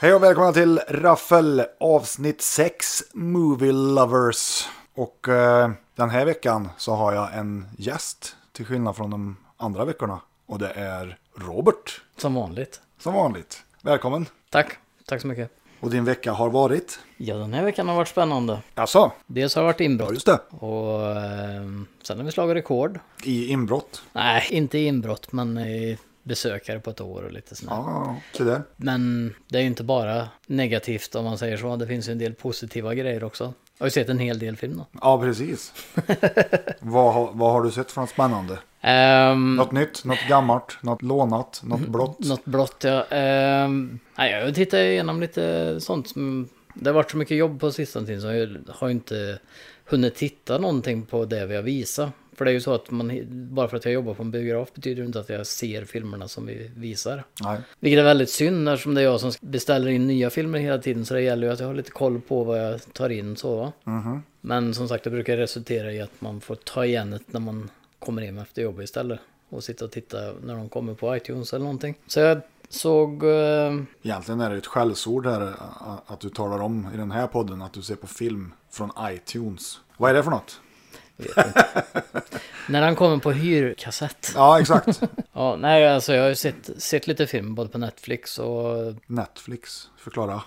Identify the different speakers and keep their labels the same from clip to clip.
Speaker 1: Hej och välkomna till Raffel avsnitt 6 Movie Lovers. Och eh, den här veckan så har jag en gäst till skillnad från de andra veckorna. Och det är Robert,
Speaker 2: Som vanligt.
Speaker 1: som vanligt. Välkommen!
Speaker 2: Tack. Tack så mycket.
Speaker 1: Och din vecka har varit?
Speaker 2: Ja, den här veckan har varit spännande.
Speaker 1: Alltså,
Speaker 2: Dels har det varit
Speaker 1: ja
Speaker 2: inbrott.
Speaker 1: just det.
Speaker 2: Och ehm, sen har vi slagit rekord.
Speaker 1: I inbrott.
Speaker 2: Nej, inte i inbrott, men i besökare på ett år och lite sådär.
Speaker 1: Ja, se där.
Speaker 2: Men det är ju inte bara negativt om man säger så. Det finns ju en del positiva grejer också. Jag har ju sett en hel del film då.
Speaker 1: Ja, precis. vad, har- vad har du sett från spännande?
Speaker 2: Ehm,
Speaker 1: Något nytt, något gammalt, något lånat, något blått?
Speaker 2: Något blått, ja. Ehm, nej, jag tittar igenom lite sånt. som- Det har varit så mycket jobb på sistone tiden så jag har ju inte hunnit titta någonting på det vi har visat. För det är ju så att man, bara för att jag jobbar på en biograf betyder det inte att jag ser filmerna som vi visar.
Speaker 1: Nej.
Speaker 2: Vilket är väldigt synd eftersom det är jag som beställer in nya filmer hela tiden så det gäller ju att jag har lite koll på vad jag tar in så va. Men som sagt det brukar resultera i att man får ta igen det när man kommer hem efter jobbet istället. Och sitta och titta när de kommer på iTunes eller någonting. Så jag såg... Eh,
Speaker 1: Egentligen är det ett skällsord här a- att du talar om i den här podden att du ser på film från iTunes. Vad är det för något?
Speaker 2: när han kommer på hyrkassett.
Speaker 1: Ja, exakt.
Speaker 2: Ja, nej alltså jag har ju sett, sett lite film både på Netflix och
Speaker 1: Netflix, förklara.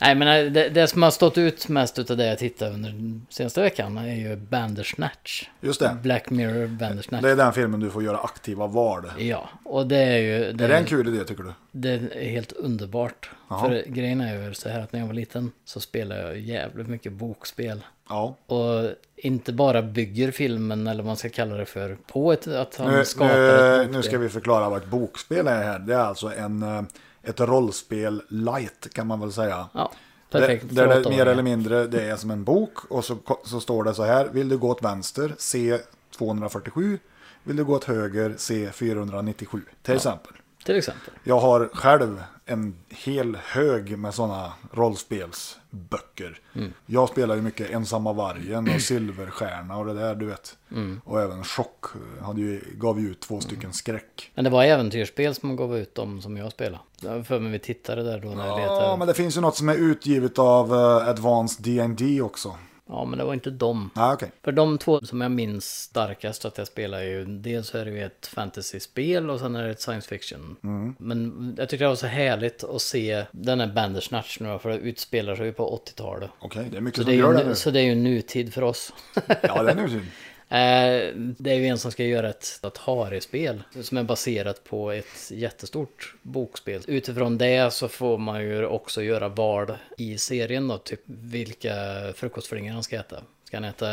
Speaker 2: Nej men eh, det, det som har stått ut mest utav det jag tittade under den senaste veckan är ju Bandersnatch.
Speaker 1: Just det.
Speaker 2: Black Mirror Bandersnatch.
Speaker 1: Det är den filmen du får göra aktiva val.
Speaker 2: Ja, och det är ju... Det,
Speaker 1: Är det en kul idé tycker du?
Speaker 2: det är helt underbart.
Speaker 1: Jaha.
Speaker 2: För grejen är ju så här att när jag var liten så spelade jag jävligt mycket bokspel.
Speaker 1: Ja.
Speaker 2: Och inte bara bygger filmen, eller vad man ska kalla det för, på ett, att han
Speaker 1: Nu,
Speaker 2: skapar
Speaker 1: nu, nu
Speaker 2: ett
Speaker 1: ska
Speaker 2: bokspel.
Speaker 1: vi förklara vad ett bokspel är här. Det är alltså en, eh, ett rollspel light kan man väl säga.
Speaker 2: Ja, perfekt.
Speaker 1: Där, där det
Speaker 2: Förlåt,
Speaker 1: mer
Speaker 2: Daniel.
Speaker 1: eller mindre det är som en bok och så, så står det så här. Vill du gå åt vänster, se 247. Vill du gå åt höger, se 497. Till exempel.
Speaker 2: Till exempel.
Speaker 1: Jag har själv en hel hög med sådana rollspelsböcker.
Speaker 2: Mm.
Speaker 1: Jag spelar ju mycket Ensamma vargen och Silverstjärna och det där du vet.
Speaker 2: Mm.
Speaker 1: Och även Chock eh, hade ju, gav ju ut två stycken skräck.
Speaker 2: Men det var äventyrsspel som gav ut dem som jag spelade. Jag har för mig vi tittade där då när jag
Speaker 1: Ja,
Speaker 2: letade.
Speaker 1: men det finns ju något som är utgivet av eh, Advanced D&D också.
Speaker 2: Ja, men det var inte dem.
Speaker 1: Ah, okej.
Speaker 2: För de två som jag minns starkast att jag spelar är ju dels är det ju ett fantasyspel och sen är det ett science fiction.
Speaker 1: Mm.
Speaker 2: Men jag tyckte det var så härligt att se den här Bandersnatch nu då, för det utspelar sig ju på 80-talet.
Speaker 1: Okej, det är mycket
Speaker 2: Så
Speaker 1: som
Speaker 2: det, är
Speaker 1: gör
Speaker 2: ju,
Speaker 1: det
Speaker 2: nu-
Speaker 1: nu.
Speaker 2: så det är ju nutid för oss.
Speaker 1: Ja, det är nu synd.
Speaker 2: Eh, det är ju en som ska göra ett Atari-spel som är baserat på ett jättestort bokspel. Utifrån det så får man ju också göra val i serien då, typ vilka frukostflingor han ska äta. Ska han äta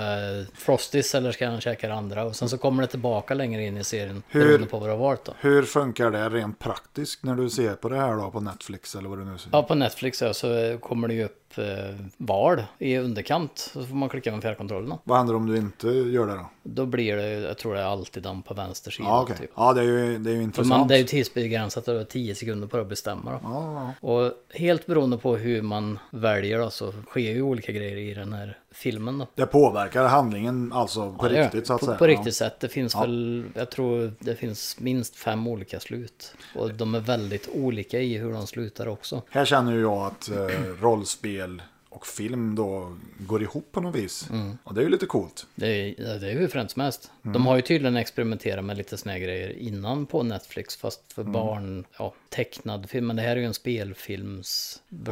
Speaker 2: Frosties eller ska han käka det andra? Och sen så kommer det tillbaka längre in i serien
Speaker 1: Hur-
Speaker 2: beroende på vad du har valt då.
Speaker 1: Hur funkar det rent praktiskt när du ser på det här då på Netflix eller vad det nu är?
Speaker 2: Ja, på Netflix ja, så kommer det ju upp eh, val i underkant. Så får man klicka med fjärrkontrollerna.
Speaker 1: Vad händer om du inte gör det då?
Speaker 2: Då blir det, jag tror det är alltid den på vänster sida.
Speaker 1: Ja, okej.
Speaker 2: typ.
Speaker 1: Ja, det är ju, det är ju
Speaker 2: För man,
Speaker 1: intressant.
Speaker 2: det är ju tidsbegränsat och du har 10 sekunder på dig att bestämma. Då.
Speaker 1: Ja,
Speaker 2: Och helt beroende på hur man väljer då, så sker ju olika grejer i den här filmen. Då.
Speaker 1: det påverkar handlingen alltså på
Speaker 2: Ja,
Speaker 1: riktigt så att
Speaker 2: på,
Speaker 1: säga.
Speaker 2: På riktigt sätt. Det finns väl, jag tror det finns minst fem olika slut. Och de är väldigt olika i hur de slutar också.
Speaker 1: Ja. Här känner ju jag att eh, rollspel och film då går ihop på något vis.
Speaker 2: Mm.
Speaker 1: Och det är ju lite coolt.
Speaker 2: Det är, ja, det är hur fränt som helst.
Speaker 1: Mm.
Speaker 2: De har ju tydligen experimenterat med lite såna här grejer innan på Netflix, fast för
Speaker 1: Mm.
Speaker 2: barn, ja, tecknad film. Men det här är ju en
Speaker 1: Och
Speaker 2: spelfilmsversion.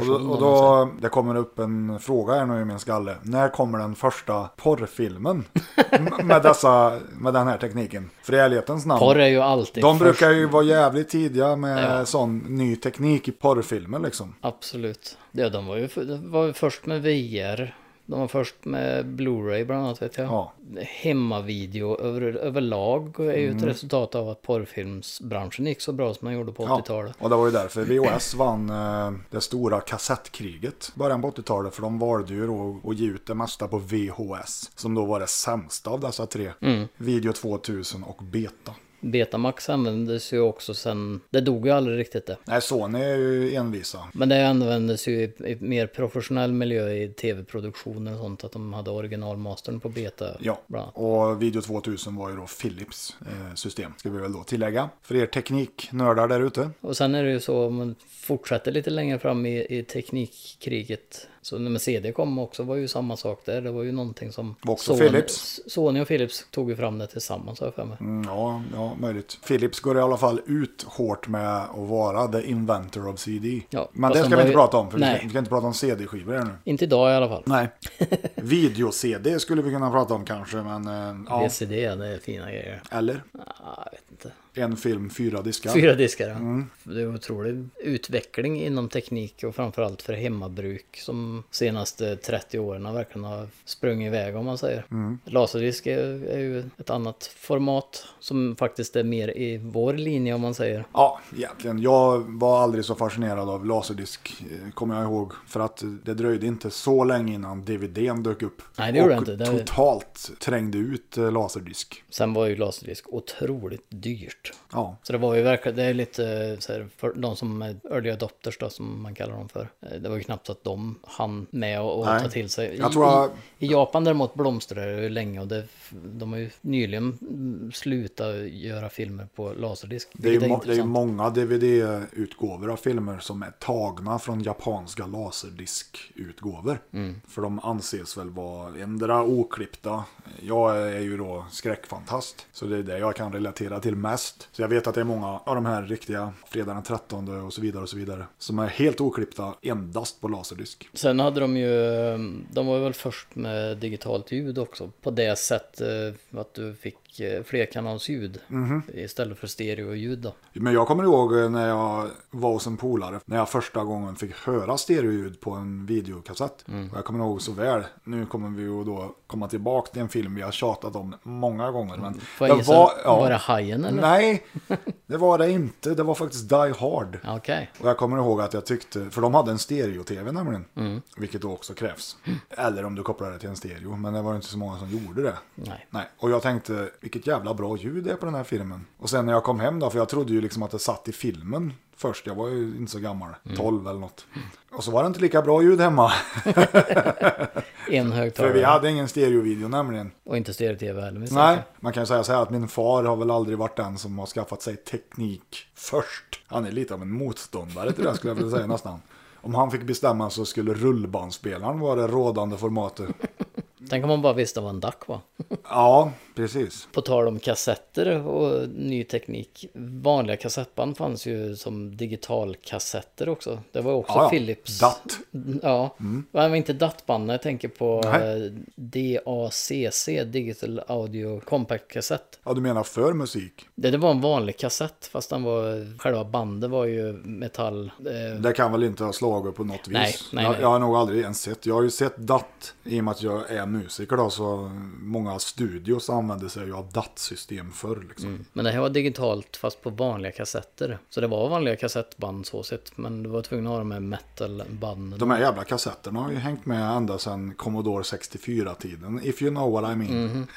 Speaker 1: då, och
Speaker 2: om man säger.
Speaker 1: då, det kommer upp en fråga här nu i min skalle. När kommer den första porrfilmen M- med, dessa, med den här tekniken? För i ärlighetens namn.
Speaker 2: Porr är ju alltid
Speaker 1: De
Speaker 2: först.
Speaker 1: brukar ju vara jävligt tidiga med
Speaker 2: Ja.
Speaker 1: sån ny teknik i porrfilmer liksom.
Speaker 2: Absolut. Ja, de var ju, de var ju först med VR. De var först med Blu-ray bland annat vet jag.
Speaker 1: Ja.
Speaker 2: Hemmavideo över, överlag är ju ett
Speaker 1: Mm.
Speaker 2: resultat av att porrfilmsbranschen gick så bra som man gjorde på
Speaker 1: Ja,
Speaker 2: 80-talet.
Speaker 1: och det var ju därför VHS vann eh, det stora kassettkriget början på 80-talet. För de valde ju då att ge ut det mesta på
Speaker 2: Mm.
Speaker 1: VHS. Som då var det sämsta av dessa tre. Video 2000 och Beta.
Speaker 2: Betamax användes ju också sen, det dog ju aldrig riktigt det.
Speaker 1: Nej, Sony är ju envisa.
Speaker 2: Men det användes ju i, i mer professionell miljö i tv-produktioner och sånt, att de hade originalmastern på beta.
Speaker 1: Ja,
Speaker 2: bland annat.
Speaker 1: och Video 2000 var ju då Philips eh, system, ska vi väl då tillägga. För er tekniknördar där ute.
Speaker 2: Och sen är det ju så, om man fortsätter lite längre fram i, i teknikkriget, så när CD kom också var ju samma sak där, det var ju någonting som...
Speaker 1: Var också Philips.
Speaker 2: Sony och Philips tog ju fram det tillsammans har jag för mig.
Speaker 1: Mm, ja, ja, möjligt. Philips går i alla fall ut hårt med att vara the inventor of CD.
Speaker 2: Ja,
Speaker 1: Men
Speaker 2: fast
Speaker 1: det
Speaker 2: de
Speaker 1: ska vi
Speaker 2: var
Speaker 1: inte
Speaker 2: ju-
Speaker 1: prata om, för vi
Speaker 2: Nej.
Speaker 1: ska, vi ska inte prata om CD-skivor här nu.
Speaker 2: Inte idag i alla fall.
Speaker 1: Nej. Video-CD skulle vi kunna prata om kanske, men eh, ja.
Speaker 2: VCD, det är fina grejer.
Speaker 1: Eller?
Speaker 2: Ah, jag vet inte.
Speaker 1: En film, fyra diskar.
Speaker 2: Fyra diskar, ja. Det är en otrolig utveckling inom teknik och framförallt för hemmabruk som senaste 30 åren verkligen har sprungit iväg om man säger. Laserdisk är, är ju ett annat format som faktiskt är mer i vår linje om man säger.
Speaker 1: Ja, egentligen. Jag var aldrig så fascinerad av laserdisk, eh, kommer jag ihåg. För att det dröjde inte så länge innan DVDn dök upp.
Speaker 2: Nej, det gjorde
Speaker 1: och
Speaker 2: det inte. Det-
Speaker 1: totalt trängde ut eh, laserdisk.
Speaker 2: Sen var ju laserdisk otroligt dyrt.
Speaker 1: Ja,
Speaker 2: Så det var ju verkligen, det är lite eh, så här, för de som är early adopters då som man kallar dem för. Eh, Det var ju knappt att de hann med att att
Speaker 1: Nej.
Speaker 2: ta till sig. I,
Speaker 1: Jag tror jag-
Speaker 2: i, I Japan däremot blomstrade det ju länge och det, de har ju nyligen mm, slutat göra filmer på laserdisk.
Speaker 1: det är, ju
Speaker 2: vilket
Speaker 1: må- det är ju
Speaker 2: intressant.
Speaker 1: många DVD-utgåvor av filmer som är tagna från japanska laserdisk-utgåvor.
Speaker 2: Mm.
Speaker 1: För de anses väl vara ändra oklippta. Jag är ju då skräckfantast, så det är det jag kan relatera till mest. Så jag vet att det är många av de här riktiga, fredag den 13 och så vidare och så vidare, som är helt oklippta endast på laserdisk.
Speaker 2: Sen hade de ju, eh, de var väl först med digitalt ljud också. På det sättet eh, att du fick eh, flerkanalsljud
Speaker 1: Mhm.
Speaker 2: istället för stereoljud då.
Speaker 1: Men jag kommer ihåg när jag var hos en polare, när jag första gången fick höra stereoljud på en videokassett.
Speaker 2: Mm.
Speaker 1: Och jag kommer ihåg så väl, nu kommer vi ju då komma tillbaka till en film vi har tjatat om många gånger. Men
Speaker 2: Mm. Får
Speaker 1: det
Speaker 2: jag gissa, var, det Hajen eller?
Speaker 1: Nej, det var det inte. Det var faktiskt Die Hard.
Speaker 2: Okej.
Speaker 1: Och jag kommer ihåg att jag tyckte, för de hade en stereo-tv nämligen,
Speaker 2: Mm.
Speaker 1: vilket då också krävs. Eller om du kopplar det till en stereo, men det var inte så många som gjorde det.
Speaker 2: Nej.
Speaker 1: Nej. Och jag tänkte, vilket jävla bra ljud det är på den här filmen. Och sen när jag kom hem då, för jag trodde ju liksom att det satt i filmen först, jag var ju inte så gammal, 12 eller något. Och så var det inte lika bra ljud hemma,
Speaker 2: En
Speaker 1: för vi
Speaker 2: högtalare.
Speaker 1: hade ingen stereovideo nämligen.
Speaker 2: Och inte stereo-tv heller. minns jag
Speaker 1: Nej,
Speaker 2: inte.
Speaker 1: man kan ju säga så här att min far har väl aldrig varit den som har skaffat sig teknik först. Han är lite av en motståndare till det skulle jag vilja säga nästan. Om han fick bestämma så skulle rullbandspelaren vara det rådande formatet.
Speaker 2: Tänk om man bara visste vad en DAC var.
Speaker 1: Ja, precis.
Speaker 2: På tal om kassetter och ny teknik. Vanliga kassettband fanns ju som digitalkassetter också. Det var också
Speaker 1: Ja, ja.
Speaker 2: Philips.
Speaker 1: Datt.
Speaker 2: Ja, men det var inte DAT-band. Jag tänker på
Speaker 1: Nej.
Speaker 2: eh, DACC, Digital Audio Compact Kassett.
Speaker 1: Ja, du menar för musik?
Speaker 2: Det, det var en vanlig kassett fast den var, själva bandet var ju metall. Eh,
Speaker 1: Det kan väl inte ha slagit på något vis?
Speaker 2: Nej, nej,
Speaker 1: jag,
Speaker 2: nej.
Speaker 1: jag har nog aldrig ens sett. Jag har ju sett DAT i och med att jag är musiker då, så många studios använder sig ju av DAT-system förr liksom.
Speaker 2: Men det här var digitalt fast på vanliga kassetter. Så det var vanliga kassettband så sett. Men du var tvungen att ha de här metalbanden.
Speaker 1: De här jävla kassetterna har ju hängt med ända sedan Commodore 64-tiden. If you know what I mean.
Speaker 2: Mhm.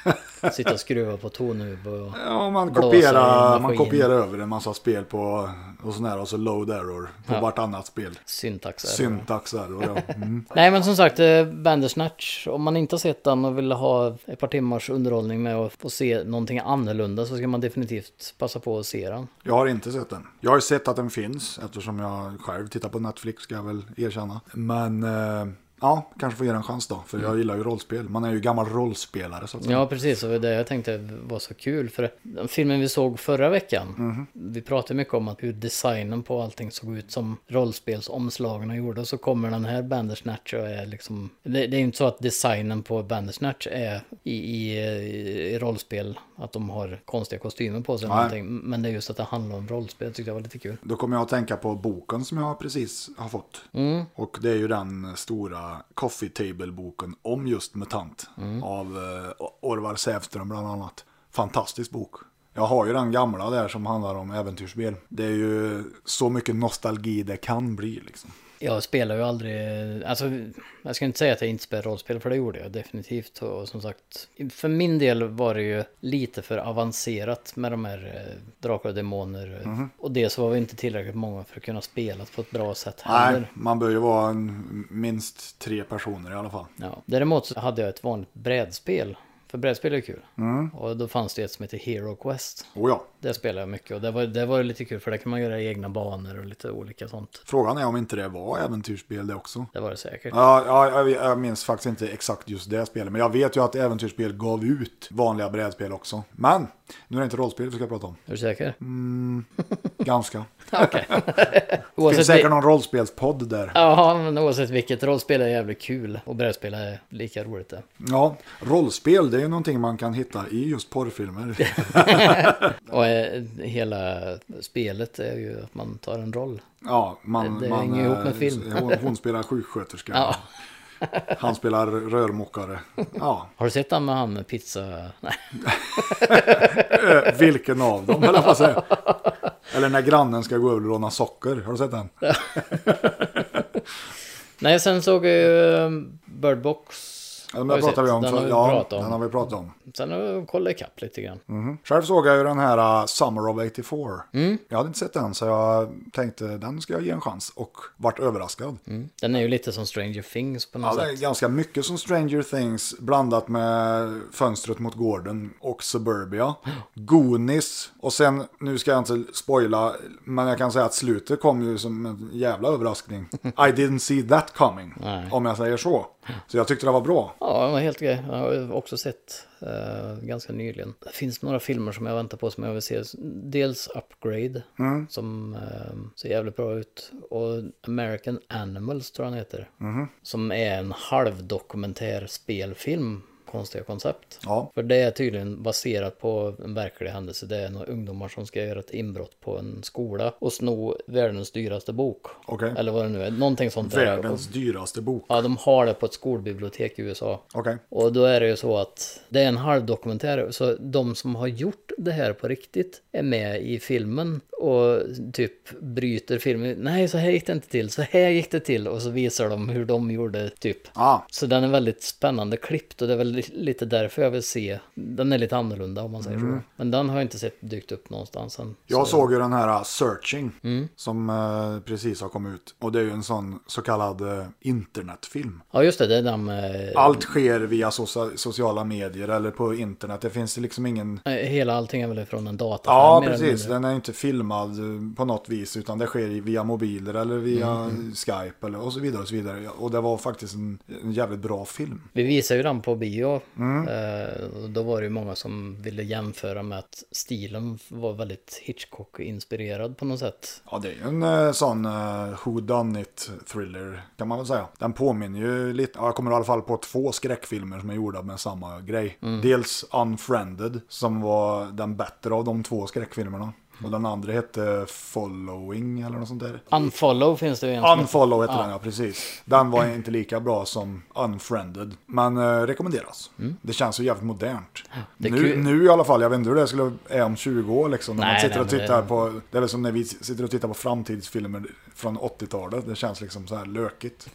Speaker 2: Sitta och skruva på tånub och...
Speaker 1: Ja, man
Speaker 2: Blåsa i
Speaker 1: kopierar,
Speaker 2: en
Speaker 1: man
Speaker 2: maskin.
Speaker 1: kopierar över en massa spel på och sån här och så load error på vartannat spel.
Speaker 2: Syntaxer.
Speaker 1: Syntax error, ja. Mm.
Speaker 2: Nej men som sagt, eh, Bandersnatch. Om man inte har sett den och vill ha ett par timmars underhållning med att få se någonting annorlunda så ska man definitivt passa på att se den.
Speaker 1: Jag har inte sett den. Jag har sett att den finns eftersom jag själv tittar på Netflix ska jag väl erkänna. Men eh, ja, kanske får ge den en chans då. För jag gillar ju rollspel. Man är ju gammal rollspelare så att säga.
Speaker 2: Ja precis, och det var det jag tänkte var så kul. För den filmen vi såg förra veckan,
Speaker 1: Mhm.
Speaker 2: vi pratade mycket om att hur designen på allting såg ut som rollspelsomslagen gjorde. Och så kommer den här Bandersnatch och är liksom... Det, det är ju inte så att designen på Bandersnatch är i, i, i rollspel, att de har konstiga kostymer på sig eller
Speaker 1: Nej.
Speaker 2: någonting. Men det är just att det handlar om rollspel, tyckte jag var lite kul.
Speaker 1: Då kommer jag att tänka på boken som jag precis har fått. Och det är ju den stora Coffee Table-boken om just MUTANT. Av eh, Orvar Sävström bland annat. Fantastisk bok. Jag har ju den gamla där som handlar om äventyrsspel. Det är ju så mycket nostalgi det kan bli liksom.
Speaker 2: Jag spelar ju aldrig, alltså jag ska inte säga att jag inte spelar rollspel för det gjorde jag definitivt. Och som sagt, för min del var det ju lite för avancerat med de här eh, drakar och demoner.
Speaker 1: Mhm.
Speaker 2: Och det så var vi inte tillräckligt många för att kunna spela på ett bra sätt heller.
Speaker 1: Nej, man bör ju vara en, minst tre personer i alla fall.
Speaker 2: Ja. Däremot så hade jag ett vanligt brädspel. För brädspel är kul.
Speaker 1: Mm.
Speaker 2: Och då fanns det ett som heter Hero Quest.
Speaker 1: Och ja,
Speaker 2: Det spelade jag mycket och det var, det var lite kul för där kan man göra egna banor och lite olika sånt.
Speaker 1: frågan är om inte det var äventyrsspel det också.
Speaker 2: Det var det säkert.
Speaker 1: Ja, ja, jag- jag minns faktiskt inte exakt just det spelet, men jag vet ju att äventyrsspel gav ut vanliga brädspel också. Men, nu är det inte rollspel vi ska prata om.
Speaker 2: Är du säker?
Speaker 1: Mm. Ganska.
Speaker 2: Okej.
Speaker 1: Det finns
Speaker 2: Oavsett,
Speaker 1: säkert
Speaker 2: vi...
Speaker 1: någon rollspelspodd där.
Speaker 2: ja, men oavsett vilket, rollspel är jävligt kul och brädspel är lika roligt det.
Speaker 1: Ja, rollspel det är ju någonting man kan hitta i just porrfilmer.
Speaker 2: Och eh, hela spelet är ju att man tar en roll.
Speaker 1: Ja, man,
Speaker 2: Det
Speaker 1: man,
Speaker 2: hänger ihop med
Speaker 1: eh,
Speaker 2: film.
Speaker 1: Hon, hon spelar sjuksköterska.
Speaker 2: Ja.
Speaker 1: Han spelar rörmokare. Ja,
Speaker 2: Har du sett han med han med pizza? Nej.
Speaker 1: eh, vilken av dem eller vad säger Eller när grannen ska gå över och låna socker. Har du sett den?
Speaker 2: Nej, sen såg jag ju eh, Bird Box.
Speaker 1: Ja, men
Speaker 2: Har
Speaker 1: Den
Speaker 2: du
Speaker 1: pratar
Speaker 2: sett?
Speaker 1: vi om.
Speaker 2: Den
Speaker 1: så-
Speaker 2: har vi
Speaker 1: ja,
Speaker 2: pratat om.
Speaker 1: Den har vi pratat om.
Speaker 2: Sen har jag kollat ikapp lite grann.
Speaker 1: Mhm. Själv såg jag ju den här eh, Summer of 84.
Speaker 2: Mm.
Speaker 1: Jag hade inte sett den så jag tänkte den ska jag ge en chans och vart överraskad.
Speaker 2: Den är ju lite som Stranger Things på något
Speaker 1: Ja, det är
Speaker 2: sätt.
Speaker 1: ganska mycket som Stranger Things blandat med Fönstret mot gården och Suburbia. Goonies och sen, nu ska jag inte spoila, men jag kan säga att slutet kom ju som en jävla överraskning. I didn't see that coming,
Speaker 2: Nej.
Speaker 1: om jag säger så. Så jag tyckte det var bra.
Speaker 2: Ja, den var helt okej. Jag har också sett eh, ganska nyligen. Det finns några filmer som jag väntar på som jag vill se. Dels Upgrade, som eh, ser jävligt bra ut. Och American Animals tror jag den heter. Som är en halvdokumentär spelfilm. Konstiga koncept.
Speaker 1: Ja.
Speaker 2: För det är tydligen baserat på en verklig händelse. Det är några ungdomar som ska göra ett inbrott på en skola och sno världens dyraste bok.
Speaker 1: Okej.
Speaker 2: Eller vad det nu är. Någonting sånt där. Och-
Speaker 1: Världens dyraste bok.
Speaker 2: Ja, de har det på ett skolbibliotek i USA.
Speaker 1: Okej.
Speaker 2: Och då är det ju så att det är en halvdokumentär, så de som har gjort det här på riktigt är med i filmen och typ bryter filmen. Nej, så här gick det inte till, så här gick det till och så visar de hur de gjorde typ.
Speaker 1: Ah,
Speaker 2: Så den är väldigt spännande klippt och det är väl li- lite därför jag vill se. Den är lite annorlunda om man säger
Speaker 1: Mm.
Speaker 2: så. Men den har jag inte sett dykt upp någonstans än.
Speaker 1: jag såg ju den här uh, Searching
Speaker 2: Mm.
Speaker 1: som eh, precis har kommit ut. Och det är ju en sån så kallad eh, internetfilm.
Speaker 2: Ja, just det, det är den med
Speaker 1: Allt sker via socia- sociala medier eller på internet. Det finns liksom ingen...
Speaker 2: eh, hela allting är väl från en data.
Speaker 1: Ja,
Speaker 2: mer eller
Speaker 1: precis.
Speaker 2: mindre.
Speaker 1: Den är inte filmad eh, på något vis utan det sker i- via mobiler eller via Skype eller och så vidare. Och så vidare. Ja, Och det var faktiskt en, en jävligt bra film.
Speaker 2: Vi visade ju den på bio.
Speaker 1: Mm.
Speaker 2: Eh, och då var det ju många som ville jämföra med att stilen var väldigt Hitchcock-inspirerad på något sätt.
Speaker 1: Ja, det är ju en eh, sån eh, Who Done It thriller kan man väl säga. Den påminner ju lite, ja, jag kommer i alla fall på två skräckfilmer som är gjorda med samma grej. Dels Unfriended som var den bättre av de två skräckfilmerna. Och den andra hette Following eller något sånt där.
Speaker 2: Unfollow finns det ju en som heter.
Speaker 1: Unfollow heter den, ja precis. Den var inte lika bra som Unfriended. Men eh, rekommenderas. Det känns ju jävligt modernt.
Speaker 2: Mm. det är
Speaker 1: Nu,
Speaker 2: kul.
Speaker 1: nu i alla fall, jag vet inte hur det skulle är om 20 år liksom. När man
Speaker 2: Nej,
Speaker 1: sitter
Speaker 2: nej,
Speaker 1: och
Speaker 2: men
Speaker 1: tittar
Speaker 2: det-
Speaker 1: på, det är väl som när vi sitter och tittar på framtidsfilmer från 80-talet. Det känns liksom så här lökigt.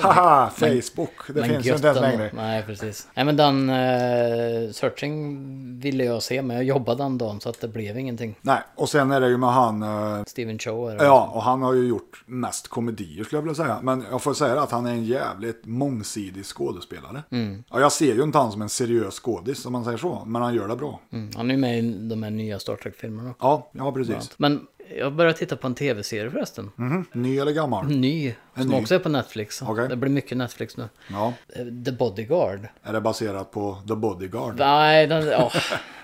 Speaker 1: Haha, Facebook. Det
Speaker 2: Men
Speaker 1: finns ju
Speaker 2: gött
Speaker 1: inte ens
Speaker 2: ändå.
Speaker 1: längre.
Speaker 2: Nej, precis. Nej, men den eh, searching ville jag se, men jag jobbade den dagen så att det blev ingenting.
Speaker 1: Nej, och sen är det ju med han eh,
Speaker 2: Steven Chow är det.
Speaker 1: Ja, och han har ju gjort mest komedier skulle jag vilja säga. Men jag får säga att han är en jävligt mångsidig skådespelare.
Speaker 2: Mm.
Speaker 1: Ja, jag ser ju inte han som en seriös skådis om man säger så, men han gör det bra.
Speaker 2: Mm, Han är ju med i de här nya Star Trek-filmerna.
Speaker 1: Ja, ja precis.
Speaker 2: Men jag började titta på en tv-serie förresten.
Speaker 1: Mhm. Ny eller gammal?
Speaker 2: Ny, som
Speaker 1: ny.
Speaker 2: också är på Netflix.
Speaker 1: Okej.
Speaker 2: Det blir mycket Netflix nu.
Speaker 1: Ja.
Speaker 2: Eh, The Bodyguard.
Speaker 1: Är det baserat på The Bodyguard?
Speaker 2: Nej, den, åh.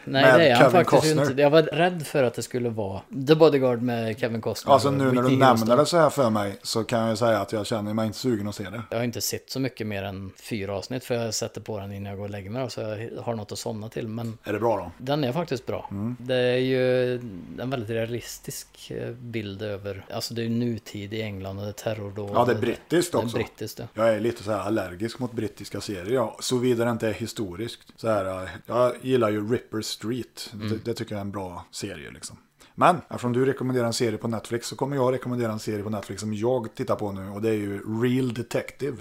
Speaker 1: Med
Speaker 2: Nej det är
Speaker 1: Kevin
Speaker 2: han faktiskt
Speaker 1: Costner.
Speaker 2: inte. Jag var rädd för att det skulle vara The Bodyguard med Kevin Costner.
Speaker 1: Alltså
Speaker 2: och
Speaker 1: nu när du
Speaker 2: Whitney
Speaker 1: nämner
Speaker 2: Houston.
Speaker 1: det så här för mig så kan jag ju säga att jag känner mig inte sugen att se det.
Speaker 2: Jag har inte sett så mycket mer än fyra avsnitt för jag sätter på den innan jag går och lägger mig då, så jag har något att somna till. Men
Speaker 1: Är det bra då?
Speaker 2: den är faktiskt bra.
Speaker 1: Mm.
Speaker 2: Det är ju en väldigt realistisk eh, bild över, alltså det är ju nutid i England och det är terrordåd.
Speaker 1: Ja, det är brittiskt
Speaker 2: Det är
Speaker 1: också.
Speaker 2: brittiskt det.
Speaker 1: Jag är lite så här allergisk mot brittiska serier, ja, såvida det inte är eh, historiskt. Så här, jag gillar ju Ripper Street, det, det tycker jag är en bra serie liksom. Men eftersom du rekommenderar en serie på Netflix så kommer jag rekommendera en serie på Netflix som jag tittar på nu och det är ju Real Detective.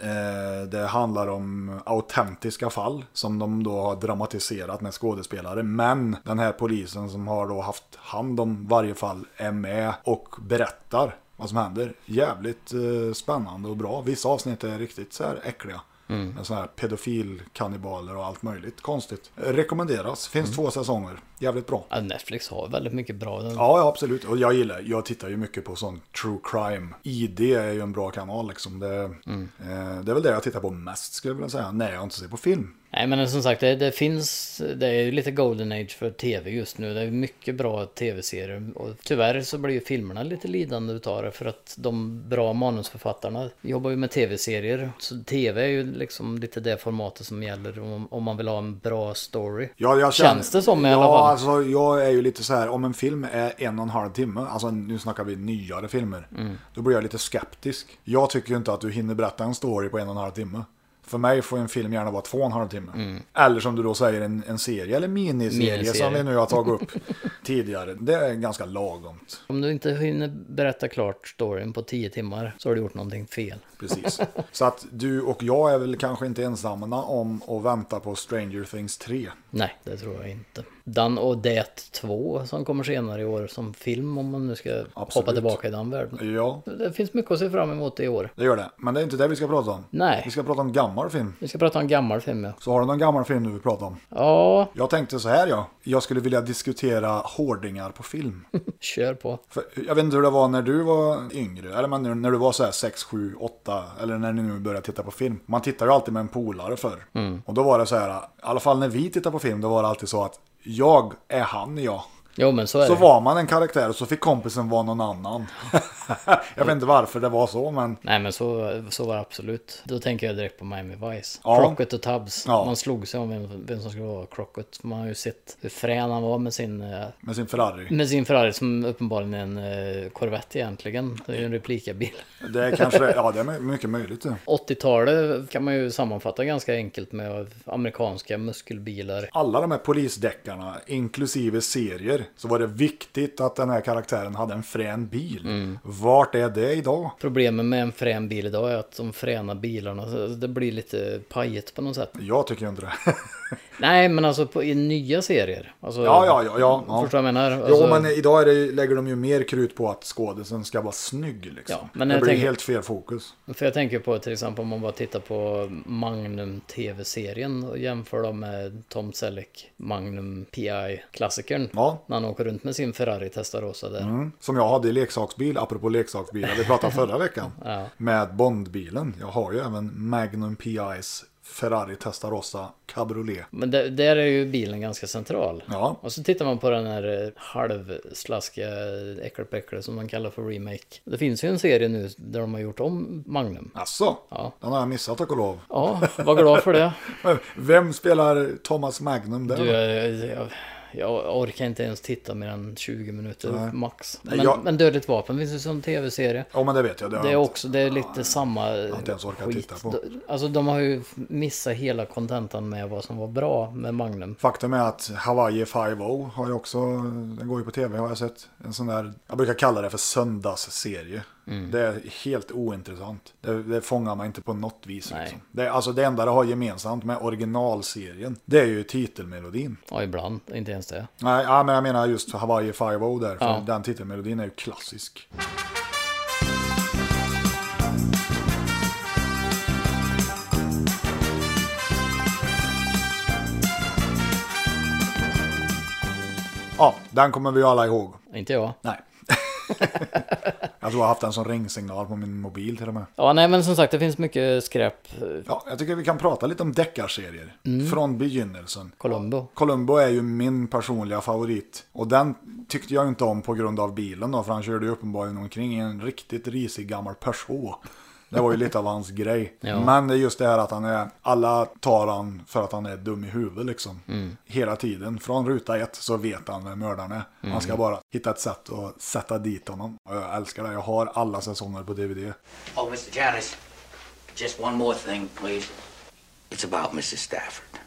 Speaker 1: Eh, det handlar om autentiska fall som de då har dramatiserat med skådespelare. Men den här polisen som har då haft hand om varje fall är med och berättar vad som händer. Jävligt eh, spännande och bra. Vissa avsnitt är riktigt så här äckliga. Med sådana här pedofilkannibaler och allt möjligt konstigt. Rekommenderas, finns två säsonger. Jävligt bra.
Speaker 2: Ja, Netflix har väldigt mycket bra. Den,
Speaker 1: Ja, ja, absolut. Och jag gillar, jag tittar ju mycket på sån true crime. ID är ju en bra kanal liksom. Det, eh, det är väl det jag tittar på mest skulle jag vilja säga. När jag inte ser på film.
Speaker 2: Nej men som sagt, det, det finns, det är ju lite golden age för tv just nu. Det är mycket bra tv-serier. Och tyvärr så blir ju filmerna lite lidande utav det för att de bra manusförfattarna jobbar ju med tv-serier. Så tv är ju liksom lite det formatet som gäller om, om man vill ha en bra story.
Speaker 1: Ja, jag känner,
Speaker 2: Känns det som i
Speaker 1: ja,
Speaker 2: alla fall.
Speaker 1: Alltså, jag är ju lite så här, om en film är en och en halv timme, alltså nu snackar vi nyare filmer,
Speaker 2: Mm.
Speaker 1: då blir jag lite skeptisk. Jag tycker ju inte att du hinner berätta en story på en och en halv timme. För mig får en film gärna vara två och en halv timme. Eller som du då säger, en, en serie eller miniserie,
Speaker 2: Mm. Miniserie.
Speaker 1: som vi nu har tagit upp tidigare. Det är ganska lagomt.
Speaker 2: Om du inte hinner berätta klart storyn på 10 timmar så har du gjort någonting fel.
Speaker 1: Precis. Så att du och jag är väl kanske inte ensamma om att vänta på Stranger Things 3.
Speaker 2: Nej, det tror jag inte. Dan och Det 2 som kommer senare i år som film om man nu ska hoppa
Speaker 1: Absolut.
Speaker 2: tillbaka i den världen.
Speaker 1: Ja,
Speaker 2: Det finns mycket att se fram emot i år.
Speaker 1: det gör det. Men det är inte det vi ska prata om.
Speaker 2: Nej.
Speaker 1: Vi ska prata om gammal film.
Speaker 2: Vi ska prata om gammal film ja.
Speaker 1: Så har du någon gammal film du vill prata om?
Speaker 2: Ja,
Speaker 1: Jag tänkte så här ja. Jag skulle vilja diskutera hårdingar på film.
Speaker 2: kör på.
Speaker 1: För jag vet inte hur det var när du var yngre. Eller men nu- när du var så här 6, 7, 8. Eller när ni nu började titta på film. Man tittar ju alltid med en polare förr. Och då var det så här. I alla fall när vi tittade på film. Då var det alltid så att jag är han jag.
Speaker 2: Jo men så är
Speaker 1: Så
Speaker 2: det.
Speaker 1: var man en karaktär och så fick kompisen vara någon annan. jag vet inte varför det var så men.
Speaker 2: Nej men så, så var det absolut. Då tänker jag direkt på Miami Vice.
Speaker 1: Ja.
Speaker 2: Crockett och Tubbs.
Speaker 1: Ja.
Speaker 2: Man slog sig om vem, vem som skulle vara Crockett. Man har ju sett hur frän han var med sin, eh,
Speaker 1: Med sin Ferrari.
Speaker 2: med sin Ferrari som uppenbarligen är en eh, Corvette egentligen. Det är ju en replikabil.
Speaker 1: Det är kanske, ja det är my- mycket möjligt det.
Speaker 2: 80-talet kan man ju sammanfatta ganska enkelt med amerikanska muskelbilar.
Speaker 1: alla de här polisdeckarna, inklusive serier, så var det viktigt att den här karaktären hade en frän bil.
Speaker 2: Mm.
Speaker 1: Vart är det idag?
Speaker 2: Problemet med en frän bil idag är att de fräna bilarna, alltså, det blir lite pajigt på något sätt.
Speaker 1: Jag tycker inte det.
Speaker 2: Nej, men alltså på, i nya serier. Alltså,
Speaker 1: ja, ja, ja. ja, ja.
Speaker 2: Förstår du vad jag menar?
Speaker 1: Jo,
Speaker 2: Alltså,
Speaker 1: men idag är det, lägger de ju mer krut på att skådisen ska vara snygg. Liksom.
Speaker 2: Ja, men
Speaker 1: det
Speaker 2: jag
Speaker 1: blir
Speaker 2: tänker-
Speaker 1: helt fel fokus.
Speaker 2: För jag tänker på till exempel om man bara tittar på Magnum TV-serien och jämför dem med Tom Selleck, Magnum PI-klassikern.
Speaker 1: Ja.
Speaker 2: När han åker runt med sin Ferrari Testarossa där.
Speaker 1: Mm. Som jag hade i leksaksbil, apropå leksaksbilar, vi pratade förra veckan. Med Bondbilen. Jag har ju även Magnum PI's Ferrari Testarossa Cabriolet.
Speaker 2: Men där, där är ju bilen ganska central.
Speaker 1: Ja.
Speaker 2: Och så tittar man på den här eh, halvslaskiga äckelpäckle som man kallar för remake. Det finns ju en serie nu där de har gjort om Magnum.
Speaker 1: Alltså,
Speaker 2: Ja.
Speaker 1: den har jag missat tack och lov.
Speaker 2: Ja, var glad för det.
Speaker 1: Vem spelar Thomas Magnum där?
Speaker 2: Du, jag, jag, jag orkar inte ens titta mer än 20 minuter max. Men,
Speaker 1: jag-
Speaker 2: men Dödligt Vapen finns ju som tv-serie.
Speaker 1: Ja men det vet jag. Det har
Speaker 2: Det är
Speaker 1: jag inte.
Speaker 2: också, det är lite samma Jag
Speaker 1: inte ens orkat titta på.
Speaker 2: Alltså de har ju missat hela kontentan med vad som var bra med Magnum.
Speaker 1: Faktum är att Hawaii 5.0 har jag också, den går ju på tv har jag sett. En sån där, jag brukar kalla det för söndagsserie.
Speaker 2: Mm.
Speaker 1: Det är helt ointressant. Det, det fångar man inte på något vis.
Speaker 2: Nej.
Speaker 1: Liksom. Det, är- alltså det enda det har gemensamt med originalserien, det är ju titelmelodin.
Speaker 2: Ja, ibland. Inte ens det.
Speaker 1: Nej, ja, men jag menar just Hawaii 5.0 där, för den titelmelodin är ju klassisk. Ja, den kommer vi ju alla ihåg.
Speaker 2: Inte jag.
Speaker 1: Nej. jag tror jag har haft den som ringsignal på min mobil till och med.
Speaker 2: Ja, nej men som sagt det finns mycket skräp.
Speaker 1: Ja, jag tycker vi kan prata lite om deckarserier. Från begynnelsen.
Speaker 2: Columbo.
Speaker 1: Columbo är ju min personliga favorit. Och den tyckte jag inte om på grund av bilen då, för han körde ju uppenbarligen omkring i en riktigt risig gammal Peugeot. Det var ju lite av hans grej.
Speaker 2: Ja.
Speaker 1: Men det är just det här att han är, alla tar han för att han är dum i huvudet liksom. Hela tiden, från ruta ett så vet han vem mördaren är. Han ska bara hitta ett sätt att sätta dit honom. Och jag älskar det, jag har alla säsonger på DVD.
Speaker 3: Oh, Mr. Jarvis, just one more thing, please. It's about Mrs. Stafford.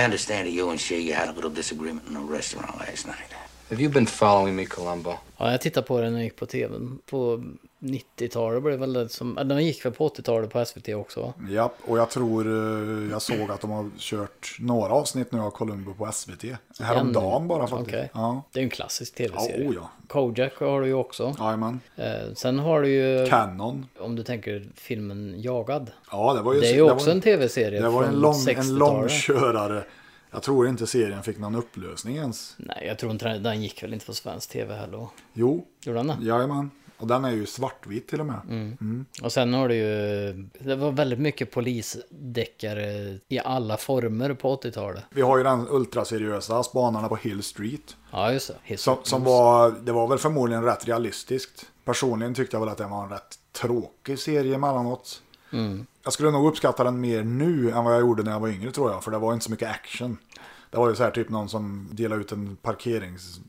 Speaker 3: I understand that you and she you had a little disagreement in a restaurant last night.
Speaker 4: Have you been following me, Columbo?
Speaker 2: Ja, jag tittade på den när jag gick på tvn. På 90-talet blev det väl det som... ja, Den gick väl på 80-talet på SVT också? va?
Speaker 1: Ja, och jag tror eh, jag såg att de har kört några avsnitt nu av Columbo på SVT. Häromdagen bara faktiskt.
Speaker 2: Okej.
Speaker 1: Ja.
Speaker 2: Det är ju en klassisk tv-serie.
Speaker 1: Ja, oh ja.
Speaker 2: Kojak har du ju också.
Speaker 1: Jajamän.
Speaker 2: Eh, sen har du ju,
Speaker 1: Canon.
Speaker 2: om du tänker filmen Jagad.
Speaker 1: Ja, det var ju,
Speaker 2: Det är ju
Speaker 1: det
Speaker 2: också
Speaker 1: var,
Speaker 2: en tv-serie
Speaker 1: Det var
Speaker 2: från
Speaker 1: en lång, en
Speaker 2: 60-talet.
Speaker 1: lång körare. Jag tror inte serien fick någon upplösning ens.
Speaker 2: Nej, jag tror inte den, den gick väl inte på svensk tv heller.
Speaker 1: Jo,
Speaker 2: Gjorde den Mm. det?
Speaker 1: jajamän. Och den är ju svartvit till och med.
Speaker 2: Och sen har du ju, det var väldigt mycket polisdeckare i alla former på 80-talet.
Speaker 1: Vi har ju den ultraseriösa Spanarna på Hill Street.
Speaker 2: Ja, just det. Hiss-
Speaker 1: Som, som var, det var väl förmodligen rätt realistiskt. Personligen tyckte jag väl att det var en rätt tråkig serie emellanåt.
Speaker 2: Mm.
Speaker 1: Jag skulle nog uppskatta den mer nu än vad jag gjorde när jag var yngre tror jag. För det var inte så mycket action. Det var ju så här typ någon som delade ut en parkerings...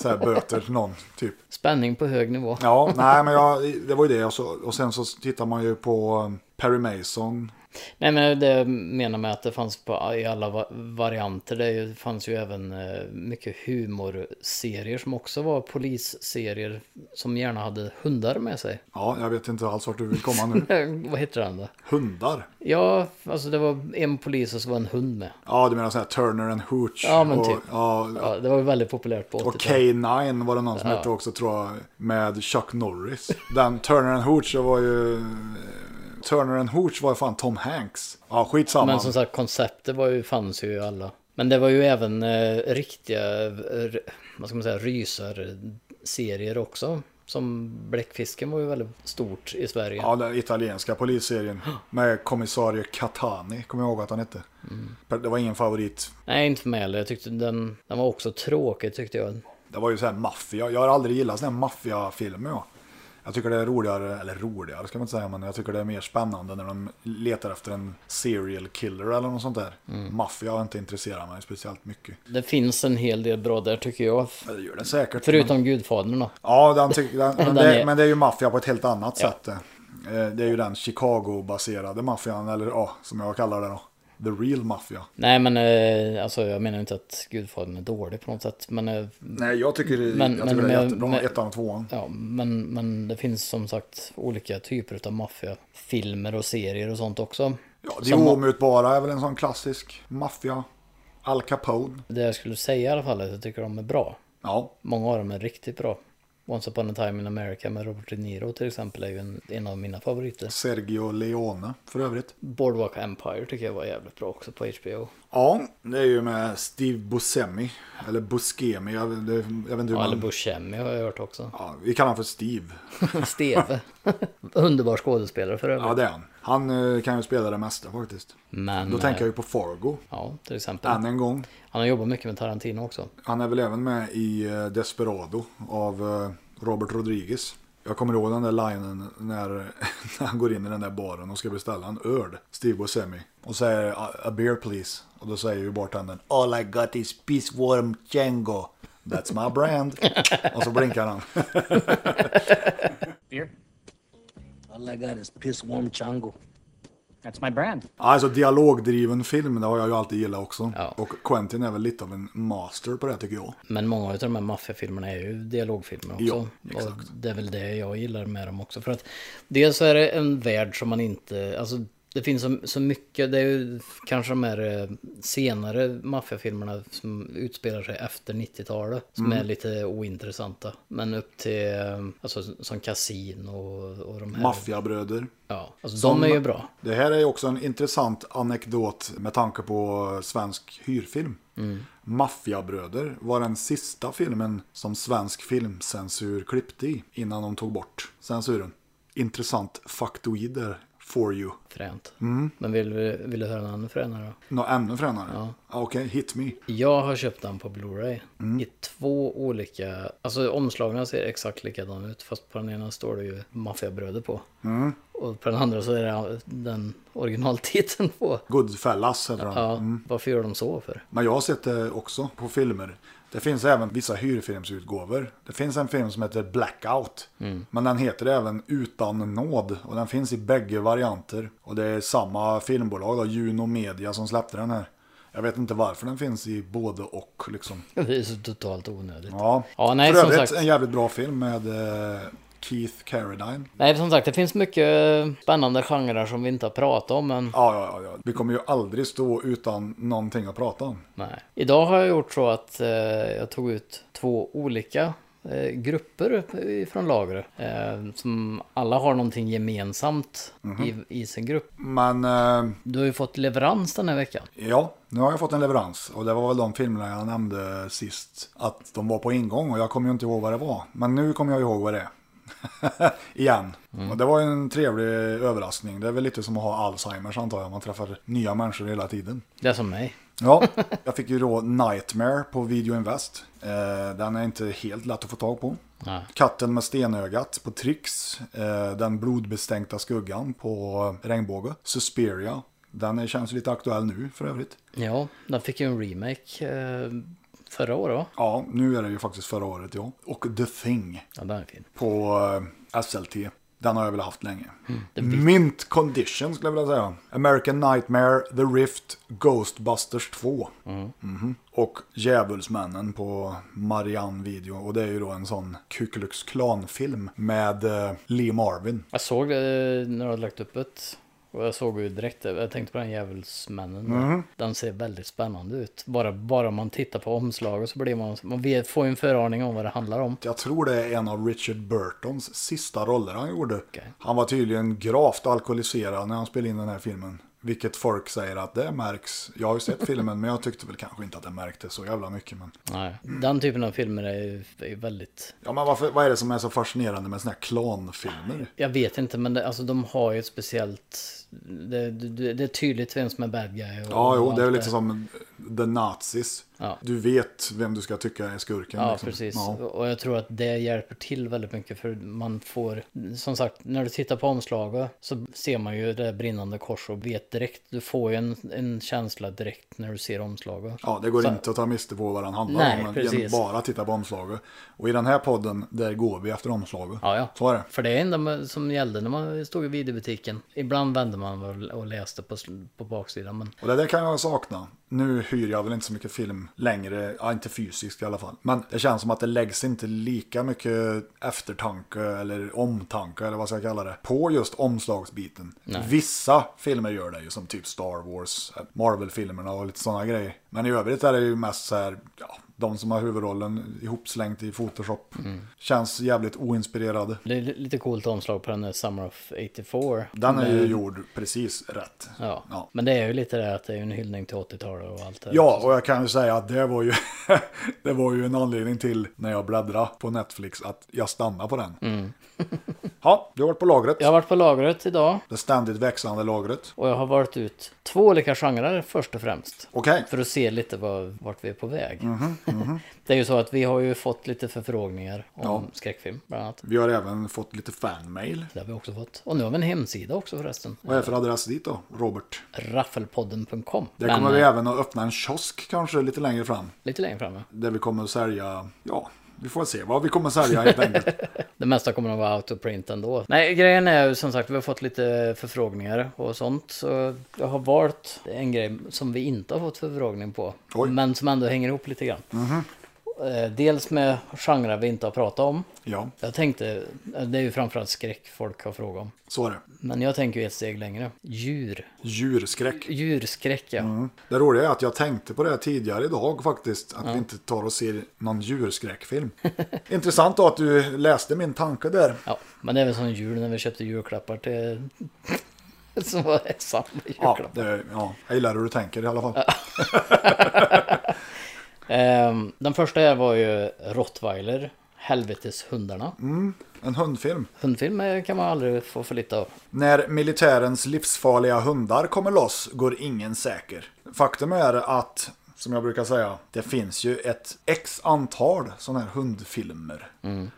Speaker 1: Så här böter till någon typ.
Speaker 2: Spänning på hög nivå.
Speaker 1: Ja, nej men jag, det var ju det. Och, så, och sen så tittar man ju på um, Perry Mason.
Speaker 2: Nej men det menar med att det fanns på, i alla va- varianter. Det är ju- fanns ju även eh, mycket humorserier som också var polisserier som gärna hade hundar med sig.
Speaker 1: Ja, jag vet inte alls vart du vill komma nu.
Speaker 2: Eh, Vad heter den då?
Speaker 1: Hundar.
Speaker 2: Ja, alltså det var en polis och så var en hund med.
Speaker 1: Ja, du menar så här Turner and Hooch.
Speaker 2: Ja, men
Speaker 1: och,
Speaker 2: typ.
Speaker 1: Ja,
Speaker 2: Ja, det var ju väldigt populärt på
Speaker 1: Och
Speaker 2: 80-talet.
Speaker 1: K9 var det någon som hette också tror jag, med Chuck Norris. Den Turner and Hooch det var ju... Turner and Hooch var fan Tom Hanks. Ja, skitsamma.
Speaker 2: Men som sagt, konceptet var ju, fanns ju i alla. Men det var ju även eh, riktiga, eh, vad ska man säga, rysarserier också. Som Bläckfisken var ju väldigt stort i Sverige.
Speaker 1: Ja, den italienska polisserien med kommissarie Catani, kommer jag ihåg att han hette.
Speaker 2: Mm.
Speaker 1: Det var ingen favorit.
Speaker 2: Nej, inte för mig heller. Jag tyckte den, den var också tråkig tyckte jag.
Speaker 1: Det var ju så här maffia. Jag har aldrig gillat sådana här maffiafilmer. Jag. jag tycker det är roligare, eller roligare ska man inte säga, men jag tycker det är mer spännande när de letar efter en serial killer eller något sånt där.
Speaker 2: Mm.
Speaker 1: Maffia har inte intresserat mig speciellt mycket.
Speaker 2: Det finns en hel del bra där tycker jag.
Speaker 1: Ja, det gör det säkert.
Speaker 2: Förutom Gudfadern då.
Speaker 1: Ja, den tyck, den, men,
Speaker 2: Den
Speaker 1: det,
Speaker 2: är-
Speaker 1: men det är ju maffia på ett helt annat sätt. Eh, Det är ju den Chicago-baserade maffian, eller ja, som jag kallar det då. The real maffia.
Speaker 2: Nej men eh, alltså jag menar inte att Gudfadern är dålig på något sätt. Men, eh,
Speaker 1: Nej, jag tycker,
Speaker 2: Men-
Speaker 1: jag
Speaker 2: men-
Speaker 1: tycker det är
Speaker 2: men-
Speaker 1: jättebra,
Speaker 2: men-
Speaker 1: ettan och tvåan.
Speaker 2: ja, men, men det finns som sagt olika typer av maffiafilmer och serier och sånt också.
Speaker 1: Ja, det
Speaker 2: Som-
Speaker 1: omutbara är väl en sån klassisk maffia. Al Capone.
Speaker 2: Det jag skulle säga i alla fall är att jag tycker de är bra.
Speaker 1: Ja,
Speaker 2: Många av dem är riktigt bra. Once upon a time in America med Robert De Niro till exempel är ju en, en av mina favoriter.
Speaker 1: Sergio Leone för övrigt.
Speaker 2: Boardwalk Empire tycker jag var jävligt bra också på HBO.
Speaker 1: Ja, det är ju med Steve Buscemi. Eller Buscemi, jag, det, jag vet inte hur
Speaker 2: Ja, eller
Speaker 1: man...
Speaker 2: Buscemi har jag hört också.
Speaker 1: Ja, vi kallar honom för Steve.
Speaker 2: Steve. Underbar skådespelare för övrigt.
Speaker 1: Ja, det är han. Han eh, kan ju spela det mesta faktiskt.
Speaker 2: Men,
Speaker 1: Då tänker jag
Speaker 2: eh,
Speaker 1: ju på Fargo.
Speaker 2: Ja, till exempel.
Speaker 1: Än en gång.
Speaker 2: Han har jobbat mycket med Tarantino också.
Speaker 1: Han är väl även med i eh, Desperado av eh, Robert Rodriguez. Jag kommer ihåg den där linen när, när han går in i den där baren och ska beställa en öl, Steve Buscemi. Och säger "A- a beer please. Och då säger ju bartendern All I got is pissworm Django. That's my brand. och så blinkar han.
Speaker 5: All I got is piss warm chango.
Speaker 6: That's my brand.
Speaker 1: Alltså dialogdriven film, det har jag ju alltid gillat också.
Speaker 2: Ja.
Speaker 1: Och Quentin är väl lite av en master på det tycker jag.
Speaker 2: Men många av de här maffiafilmerna är ju dialogfilmer också.
Speaker 1: Ja, exakt.
Speaker 2: och det är väl det jag gillar med dem också. För att dels så är det en värld som man inte... Alltså, det finns så, så mycket, det är ju kanske de här eh, senare maffiafilmerna som utspelar sig efter 90-talet. Som
Speaker 1: Mm.
Speaker 2: är lite ointressanta. Men upp till, eh, alltså som Casino och, och de här.
Speaker 1: Maffiabröder.
Speaker 2: Ja, alltså
Speaker 1: Som-
Speaker 2: de är ju bra.
Speaker 1: Det här är också en intressant anekdot med tanke på svensk hyrfilm.
Speaker 2: Mm.
Speaker 1: Maffiabröder var den sista filmen som svensk filmcensur klippte i innan de tog bort censuren. Intressant faktoider for you.
Speaker 2: Fränt. Men vill, vi- vill du höra en annan fränare då?
Speaker 1: Nå, ännu fränare? Ja. Okej, hit me.
Speaker 2: Jag har köpt den på Blu-ray. I två olika... Alltså omslagen ser exakt likadana ut. Fast på den ena står det ju Maffiabröder på. Och på den andra så är det den originaltiteln på.
Speaker 1: Goodfellas heter den.
Speaker 2: Ja, varför gör de så för?
Speaker 1: Men jag har sett det också på filmer. Det finns även vissa hyrfilmsutgåvor. Det finns en film som heter Blackout.
Speaker 2: Mm.
Speaker 1: Men den heter även Utan nåd. Och den finns i bägge varianter. Och det är samma filmbolag, då, Juno Media, som släppte den här. Jag vet inte varför den finns i både och liksom.
Speaker 2: Det är så totalt onödigt.
Speaker 1: Ja,
Speaker 2: Ja, nej,
Speaker 1: för
Speaker 2: som
Speaker 1: övrigt
Speaker 2: sagt.
Speaker 1: en jävligt bra film med eh, Keith Carradine.
Speaker 2: Nej, som sagt, det finns mycket spännande genrer som vi inte har pratat om än.
Speaker 1: Ja, ja, ja, ja. Vi kommer ju aldrig stå utan någonting att prata om.
Speaker 2: Nej. Idag har jag gjort så att eh, jag tog ut två olika eh, grupper från lagret. Eh, som alla har någonting gemensamt i, i sin grupp.
Speaker 1: Men eh,
Speaker 2: Du har ju fått leverans den här veckan.
Speaker 1: ja, nu har jag fått en leverans. Och det var väl de filmerna jag nämnde sist. Att de var på ingång och jag kommer ju inte ihåg vad det var. Men nu kommer jag ihåg vad det är. Igen. Och det var ju en trevlig överraskning. Det är väl lite som att ha Alzheimers antar jag. Man träffar nya människor hela tiden.
Speaker 2: Det är som mig.
Speaker 1: Ja, jag fick ju då Nightmare på Video Invest. Eh, den är inte helt lätt att få tag på.
Speaker 2: Nej.
Speaker 1: Katten med stenögat på Trix. Eh, den blodbestänkta skuggan på Regnbåge. Suspiria. Den är- känns lite aktuell nu för övrigt.
Speaker 2: Ja, den fick ju en remake eh, förra året va?
Speaker 1: Ja, nu är det ju faktiskt förra året ja. Och The Thing
Speaker 2: Ja, den är fin.
Speaker 1: på eh, SLT. Den har jag väl haft länge. Mint condition skulle jag vilja säga. American Nightmare, The Rift, Ghostbusters 2. Mhm. Och Djävulsmännen på Marianne Video. Och det är ju då en sån Ku Klux Klan-film med eh, Lee Marvin.
Speaker 2: Jag såg det när du hade lagt upp ett. Och jag såg ju direkt, jag tänkte på den djävulsmännen. där. Den ser väldigt spännande ut. Bara, bara man tittar på omslaget så blir man, man vet, får ju en föraning om vad det handlar om.
Speaker 1: Jag tror det är en av Richard Burtons sista roller han gjorde. Han var tydligen gravt alkoholiserad när han spelade in den här filmen. Vilket folk säger att det märks. Jag har ju sett filmen men jag tyckte väl kanske inte att det märktes så jävla mycket. Men...
Speaker 2: Nej. Den typen av filmer är ju är ju väldigt...
Speaker 1: Ja, men varför, vad är det som är så fascinerande med såna här klanfilmer?
Speaker 2: Jag vet inte men det, alltså, de har ju ett speciellt... Det, det, det är tydligt vem som är bad guy. Och,
Speaker 1: Ja, jo,
Speaker 2: och
Speaker 1: det är väl
Speaker 2: allt
Speaker 1: lite som The Nazis.
Speaker 2: Ja.
Speaker 1: Du vet vem du ska tycka är skurken.
Speaker 2: Ja,
Speaker 1: liksom.
Speaker 2: precis.
Speaker 1: Ja.
Speaker 2: Och jag tror att det hjälper till väldigt mycket för man får, som sagt, när du tittar på omslaget så ser man ju det brinnande kors och vet direkt, du får ju en, en känsla direkt när du ser omslaget.
Speaker 1: Ja, det går inte att ta miste på vad den handlar
Speaker 2: Nej,
Speaker 1: om. men
Speaker 2: precis.
Speaker 1: genom att bara titta på omslaget. Och i den här podden, där går vi efter omslaget.
Speaker 2: Ja, ja.
Speaker 1: Så är det.
Speaker 2: För det är enda som gällde när man stod i videobutiken. Ibland vände man väl och läste på, sl- på baksidan, men
Speaker 1: Och det där kan jag sakna. Nu hyr jag väl inte så mycket film längre, ja, inte fysiskt i alla fall. Men det känns som att det läggs inte lika mycket eftertanke eller omtanke eller vad ska jag kalla det på just omslagsbiten. Vissa filmer gör det ju som typ Star Wars, Marvel-filmerna och lite sådana grejer. Men i övrigt är det ju mest så här, ja, de som har huvudrollen ihopslängt i Photoshop. Känns jävligt oinspirerade.
Speaker 2: det är li- lite coolt omslag på den där Summer of 84.
Speaker 1: Den är ju gjord precis rätt.
Speaker 2: Ja.
Speaker 1: Ja.
Speaker 2: men det är ju lite det här att det är ju en hyllning till 80-talet och allt det här.
Speaker 1: Ja, och jag kan ju säga att det var ju, det var ju en anledning till när jag bläddrade på Netflix att jag stannade på den. ja, du har varit på lagret.
Speaker 2: Jag har varit på lagret idag
Speaker 1: Det ständigt växande lagret.
Speaker 2: och jag har valt ut två olika genrer först och främst.
Speaker 1: Okej,
Speaker 2: För att se lite vad, vart vi är på väg.
Speaker 1: Mhm,
Speaker 2: det är ju så att vi har ju fått lite förfrågningar om skräckfilm bland annat.
Speaker 1: vi har även fått lite fanmail.
Speaker 2: Det har vi också fått. Och nu har vi en hemsida också förresten.
Speaker 1: Vad är det för adress dit då, Robert?
Speaker 2: Raffelpodden.com.
Speaker 1: Där
Speaker 2: Men,
Speaker 1: kommer vi
Speaker 2: eh,
Speaker 1: även att öppna en kiosk kanske lite längre fram.
Speaker 2: Lite längre framme.
Speaker 1: Där vi kommer att sälja, ja, vi får se vad vi kommer att sälja helt enkelt.
Speaker 2: Det mesta kommer att vara out of print ändå. Nej, grejen är ju som sagt vi har fått lite förfrågningar och sånt. Så jag har valt en grej som vi inte har fått förfrågning på.
Speaker 1: Oj. Mhm.
Speaker 2: Men som ändå hänger ihop lite grann. Eh, Dels med genrer vi inte har pratat om.
Speaker 1: Ja,
Speaker 2: Jag tänkte, eh, det är ju framförallt skräck folk har frågat om.
Speaker 1: så är det.
Speaker 2: Men jag tänker ju ett steg längre. Djur.
Speaker 1: Djurskräck.
Speaker 2: Djurskräck ja.
Speaker 1: Det roliga är att jag tänkte på det här tidigare idag faktiskt. Att vi inte tar och ser någon djurskräckfilm. Intressant då att du läste min tanke där.
Speaker 2: ja. Men det är väl som jul när vi köpte julklappar till... Som var samma
Speaker 1: Ja,
Speaker 2: julklapp.
Speaker 1: det, ja, jag gillar hur du tänker i alla fall.
Speaker 2: Ehm, den första här var ju Rottweiler. Helveteshundarna.
Speaker 1: Mm. En hundfilm.
Speaker 2: Hundfilm eh, kan man aldrig få för lite av.
Speaker 1: När militärens livsfarliga hundar kommer loss går ingen säker. Faktum är att, som jag brukar säga, det finns ju ett x antal sådana här hundfilmer.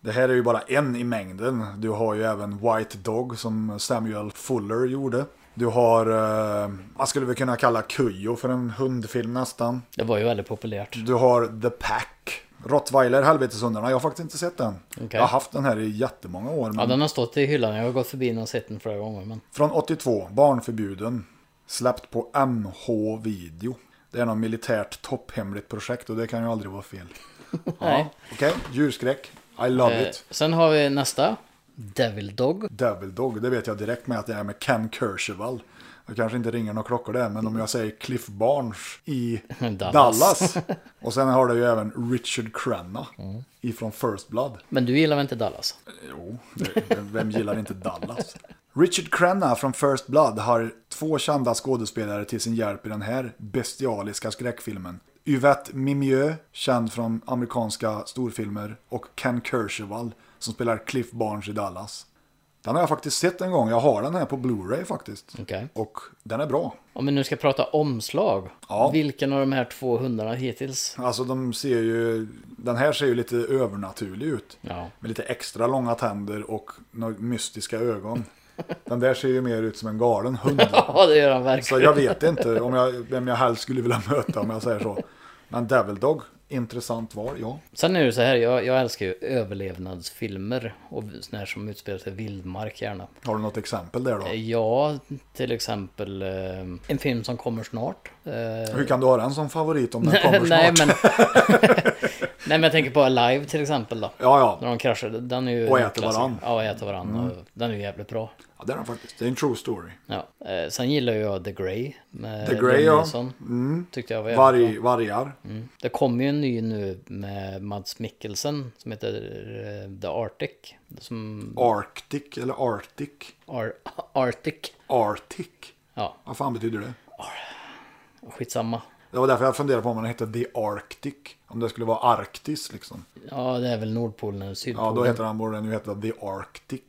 Speaker 1: Det här är ju bara en i mängden. Du har ju även White Dog som Samuel Fuller gjorde. Du har, eh, man skulle väl kunna kalla Kujo för en hundfilm nästan.
Speaker 2: Det var ju väldigt populärt.
Speaker 1: Du har The Pack. Rottweiler, helveteshundarna. Jag har faktiskt inte sett den. Jag har haft den här i jättemånga år. men-
Speaker 2: Ja, den har stått i hyllan. Jag har gått förbi den och sett den flera gånger. Men
Speaker 1: från 82, barnförbjuden. Släppt på MH video. Det är något militärt topphemligt projekt och det kan ju aldrig vara fel.
Speaker 2: Nej.
Speaker 1: Okej, djurskräck. I love
Speaker 2: Eh,
Speaker 1: it.
Speaker 2: Sen har vi nästa. Devil Dog.
Speaker 1: Devil Dog, det vet jag direkt med att det är med Ken Kercheval. Jag kanske inte ringer några klockor där, men om jag säger Cliff Barnes i
Speaker 2: Dallas.
Speaker 1: Dallas. Och sen har du ju även Richard Crenna
Speaker 2: Mm.
Speaker 1: ifrån First Blood.
Speaker 2: Men du gillar väl inte Dallas?
Speaker 1: Jo, det- vem gillar inte Dallas? Richard Crenna från First Blood har två kända skådespelare till sin hjälp i den här bestialiska skräckfilmen. Yvette Mimieux, känd från amerikanska storfilmer, och Ken Kercheval som spelar Cliff Barnes i Dallas. Den har jag faktiskt sett en gång, jag har den här på Blu-ray faktiskt.
Speaker 2: Okej.
Speaker 1: Och den är bra.
Speaker 2: Om vi nu ska prata omslag.
Speaker 1: Ja.
Speaker 2: Vilken av de här två hundarna hittills?
Speaker 1: Alltså de ser ju, den här ser ju lite övernaturlig ut.
Speaker 2: Ja.
Speaker 1: Med lite extra långa tänder och några mystiska ögon. Den där ser ju mer ut som en galen hund.
Speaker 2: Ja, det gör han
Speaker 1: Så
Speaker 2: verkligen.
Speaker 1: jag vet inte om jag, vem jag helst skulle vilja möta om jag säger så. Men Devil Dog, intressant val, ja.
Speaker 2: Sen är det så här, jag, jag älskar ju överlevnadsfilmer och såna här som utspelar sig i vildmark gärna.
Speaker 1: Har du något exempel där då?
Speaker 2: Ja, till exempel eh, en film som kommer snart. Eh,
Speaker 1: Hur kan du ha den som favorit om den kommer snart?
Speaker 2: nej, men, nej men jag tänker på Alive till exempel då.
Speaker 1: Ja,
Speaker 2: När
Speaker 1: ja.
Speaker 2: de kraschar, den är ju...
Speaker 1: Och
Speaker 2: en
Speaker 1: äter
Speaker 2: klassiker.
Speaker 1: varann. Mm.
Speaker 2: Ja, och äter varann. Och den är ju jävligt bra.
Speaker 1: ja, det är den faktiskt. Det är en true story.
Speaker 2: Ja. Eh, sen gillar jag The Grey. Med
Speaker 1: The Grey, ja. Mm.
Speaker 2: Nilsson. Tyckte jag var jävligt bra.
Speaker 1: Varg, vargar.
Speaker 2: Det kommer ju en ny nu med Mads Mikkelsen som heter eh, The Arctic. Som
Speaker 1: Arctic, eller Arctic.
Speaker 2: Ar- Arctic.
Speaker 1: Arctic.
Speaker 2: Ja,
Speaker 1: Vad fan betyder det?
Speaker 2: skitsamma.
Speaker 1: Det var därför jag funderade på om den hette The Arctic. Om det skulle vara Arktis liksom.
Speaker 2: Ja, det är väl Nordpolen eller
Speaker 1: Ja,
Speaker 2: Sydpolen.
Speaker 1: då heter den, borde den ju heta The Arctic.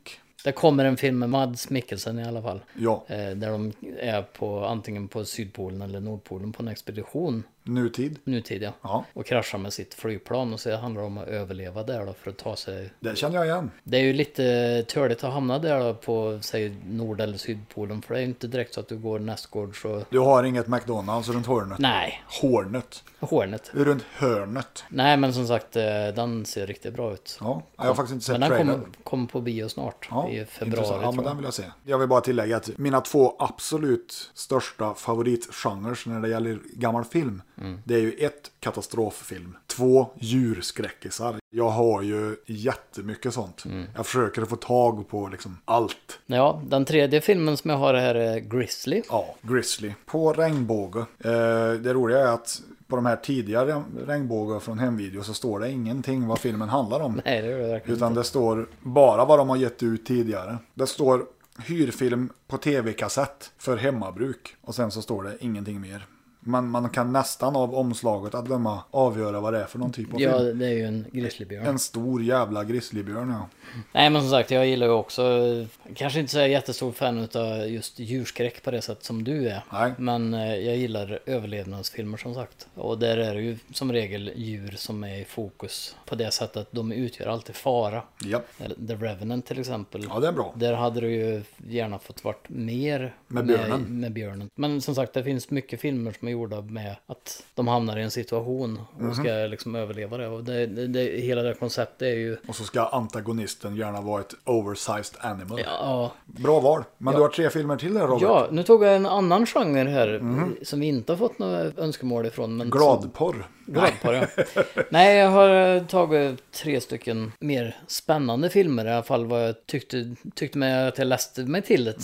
Speaker 2: Det kommer en film med Mads Mikkelsen i alla fall.
Speaker 1: Ja,
Speaker 2: Eh, där de är på antingen på Sydpolen eller Nordpolen på en expedition.
Speaker 1: nutid.
Speaker 2: Nutid ja.
Speaker 1: Ja.
Speaker 2: Och kraschar med sitt flygplan och så handlar det om att överleva där då för att ta sig.
Speaker 1: Det känner jag igen.
Speaker 2: Det är ju lite törligt att hamna där då på säg Nord eller Sydpolen. För det är ju inte direkt så att du går nästgårds och...
Speaker 1: Du har inget McDonalds runt hörnet.
Speaker 2: Nej,
Speaker 1: Hornet.
Speaker 2: Hornet.
Speaker 1: Runt hörnet.
Speaker 2: Nej men som sagt eh, den ser riktigt bra ut.
Speaker 1: Ja, jag har faktiskt inte sett
Speaker 2: Men den
Speaker 1: trailern.
Speaker 2: kommer kommer på bio snart.
Speaker 1: Ja,
Speaker 2: I
Speaker 1: intressant.
Speaker 2: februari
Speaker 1: Ja, men
Speaker 2: tror
Speaker 1: den
Speaker 2: jag.
Speaker 1: vill jag se. Jag vill bara tillägga att mina två absolut största favoritgenrer när det gäller gammal film,
Speaker 2: Mm.
Speaker 1: det är ju ett, katastroffilm, två, djurskräckisar. Jag har ju jättemycket sånt.
Speaker 2: Mm.
Speaker 1: Jag försöker få tag på liksom allt.
Speaker 2: Ja, den tredje filmen som jag har här är Grizzly.
Speaker 1: Ja, Grizzly. På regnbåge. Eh, det roliga är att på de här tidigare regnbågar från hemvideo så står det ingenting vad filmen handlar om.
Speaker 2: Nej det är det verkligen
Speaker 1: Utan det står bara vad de har gett ut tidigare. Det står hyrfilm på tv-kassett för hemmabruk. Och sen så står det ingenting mer. Man, man kan nästan av omslaget att döma avgöra vad det är för någon typ av
Speaker 2: Ja,
Speaker 1: film.
Speaker 2: det är ju en grizzlybjörn.
Speaker 1: En stor jävla grizzlybjörn ja.
Speaker 2: Nej, men som sagt, jag gillar ju också... Kanske inte så här jättestor fan av just djurskräck på det sätt som du är.
Speaker 1: Nej.
Speaker 2: Men eh, jag gillar överlevnadsfilmer som sagt. Och där är det ju som regel djur som är i fokus. På det sättet att de utgör alltid fara.
Speaker 1: Ja,
Speaker 2: Eller The Revenant till exempel.
Speaker 1: ja det är bra.
Speaker 2: Där hade du ju gärna fått varit mer
Speaker 1: Med björnen.
Speaker 2: Med, med björnen. Men som sagt, det finns mycket filmer som är gjorda med att de hamnar i en situation och
Speaker 1: Mhm.
Speaker 2: ska liksom överleva det. Och det, det, det, hela det här konceptet är ju...
Speaker 1: Och så ska antagonisten gärna vara ett oversized animal.
Speaker 2: Ja,
Speaker 1: Bra val. Men du har tre filmer till där Robert.
Speaker 2: Ja, nu tog jag en annan genre här
Speaker 1: Mhm.
Speaker 2: som vi inte har fått några önskemål ifrån. Men Som,
Speaker 1: Gladporr.
Speaker 2: glad på det. Nej, jag har eh, tagit tre stycken mer spännande filmer i alla fall vad jag tyckte, tyckte mig att jag läste mig till det.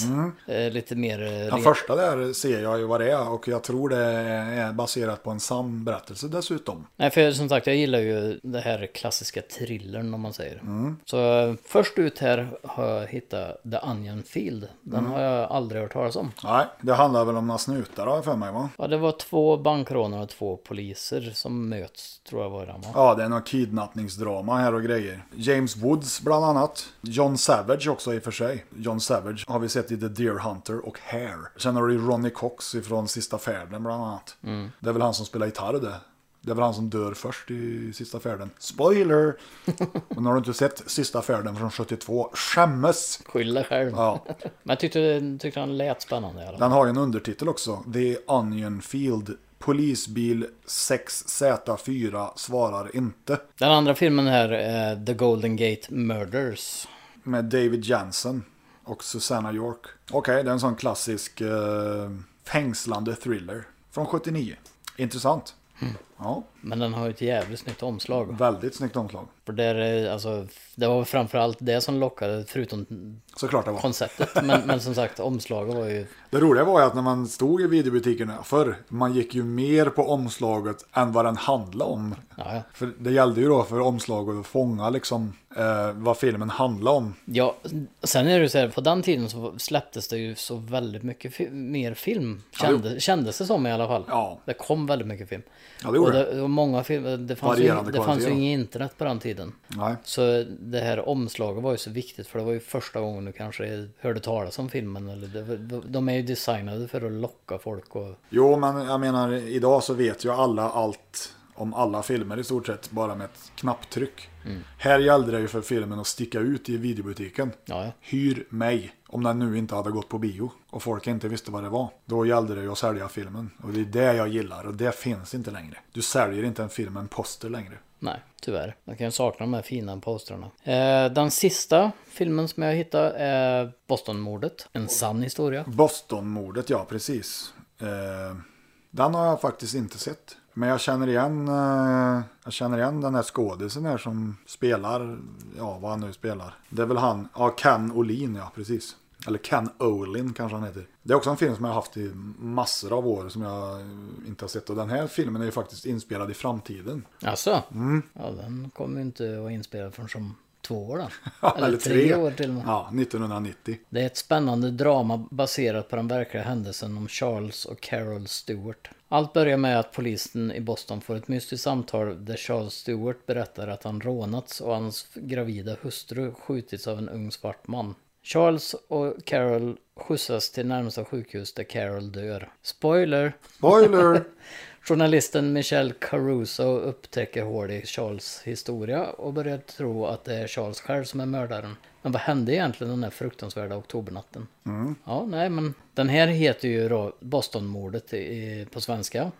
Speaker 2: Eh, lite mer... eh,
Speaker 1: Den
Speaker 2: re-
Speaker 1: Mhm. första där ser jag ju vad det är och jag tror det är baserat på en sann berättelse dessutom.
Speaker 2: Nej, för jag- som sagt, jag gillar ju det här klassiska thrillern om man säger. Så eh, först ut här har jag hittat The Onion Field. Den har jag aldrig hört talas om.
Speaker 1: Nej, det handlar väl om några snutar har jag för mig va?
Speaker 2: Ja, det var två bankrånare och två poliser som möts, tror jag var den va?
Speaker 1: Ja, det är något kidnappningsdrama här och grejer. James Woods bland annat. John Savage också i och för sig. John Savage har vi sett i The Deer Hunter och Hair. Sen har du ju Ronnie Cox ifrån Sista Färden bland annat. Det är väl han som spelar gitarr det. Det är väl han som dör först i Sista Färden. Spoiler! Men har du inte sett Sista Färden från 72? Skämmes!
Speaker 2: Skyll dig själv.
Speaker 1: Ja,
Speaker 2: Men jag tyckte, tyckte han lät spännande i alla fall.
Speaker 1: Den har ju en undertitel också. The Onion Field. Polisbil 6Z4 svarar inte.
Speaker 2: Den andra filmen här är The Golden Gate Murders.
Speaker 1: Med David Jansen och Susanna York. Okej, det är en sån klassisk eh, fängslande thriller. Från 79. Intressant.
Speaker 2: Mm.
Speaker 1: Ja,
Speaker 2: Men den har ju ett jävligt snyggt omslag.
Speaker 1: väldigt snyggt omslag.
Speaker 2: För där, är, alltså, det var framförallt det som lockade, förutom
Speaker 1: Såklart det var.
Speaker 2: konceptet. Men, men som sagt, omslaget var ju...
Speaker 1: Det roliga var ju att när man stod i videobutikerna förr, man gick ju mer på omslaget än vad den handlade om.
Speaker 2: Ja, ja.
Speaker 1: För det gällde ju då för omslaget att fånga liksom eh, vad filmen handlade om.
Speaker 2: Ja, sen är det ju så här, på den tiden så släpptes det ju så väldigt mycket fi- mer film. Kände, Kändes det som i alla fall.
Speaker 1: Ja.
Speaker 2: Det kom väldigt mycket film.
Speaker 1: Ja, det
Speaker 2: och,
Speaker 1: gjorde det.
Speaker 2: det, och många filmer, det fanns ju,
Speaker 1: Varierande
Speaker 2: det fanns ju
Speaker 1: kvalitet, ja.
Speaker 2: inget internet på den tiden.
Speaker 1: Nej.
Speaker 2: Så det här omslaget var ju så viktigt för det var ju första gången du kanske hörde talas om filmen. Eller det, var- de är ju designade för att locka folk och...
Speaker 1: Jo, men jag menar idag så vet ju alla allt om alla filmer i stort sett, bara med ett knapptryck.
Speaker 2: Mm.
Speaker 1: Här gällde det ju för filmen att sticka ut i videobutiken.
Speaker 2: Ja, ja.
Speaker 1: Hyr mig, om den nu inte hade gått på bio och folk inte visste vad det var. Då gällde det ju att sälja filmen. Och det är det jag gillar och det finns inte längre. Du säljer inte en film med en poster längre.
Speaker 2: Nej, tyvärr. Jag kan sakna de här fina postrarna. Eh, den sista filmen som jag hittade är Bostonmordet. En sann historia.
Speaker 1: Bostonmordet, ja precis. Eh, den har jag faktiskt inte sett. Men jag känner igen, eh, jag känner igen den här skådisen här som spelar, ja vad han nu spelar. Det är väl han, ja Ken Olin ja precis. Eller Ken Olin kanske han heter. Det är också en film som jag har haft i massor av år som jag eh, inte har sett. Och den här filmen är ju faktiskt inspelad i framtiden.
Speaker 2: Alltså? Ja, den kommer ju inte att vara inspelad förrän som två år då. år till och med.
Speaker 1: Ja, 1990.
Speaker 2: Det är ett spännande drama baserat på den verkliga händelsen om Charles och Carol Stewart. Allt börjar med att polisen i Boston får ett mystiskt samtal där Charles Stewart berättar att han rånats och hans gravida hustru skjutits av en ung svart man. Charles och Carol skjutsas till närmsta sjukhus där Carol dör. Spoiler!
Speaker 1: Spoiler!
Speaker 2: Journalisten Michelle Caruso upptäcker hål i Charles historia och börjar tro att det är Charles själv som är mördaren. Men vad hände egentligen den här fruktansvärda oktobernatten? Ja, nej men den här heter ju då Bostonmordet i- i- på svenska.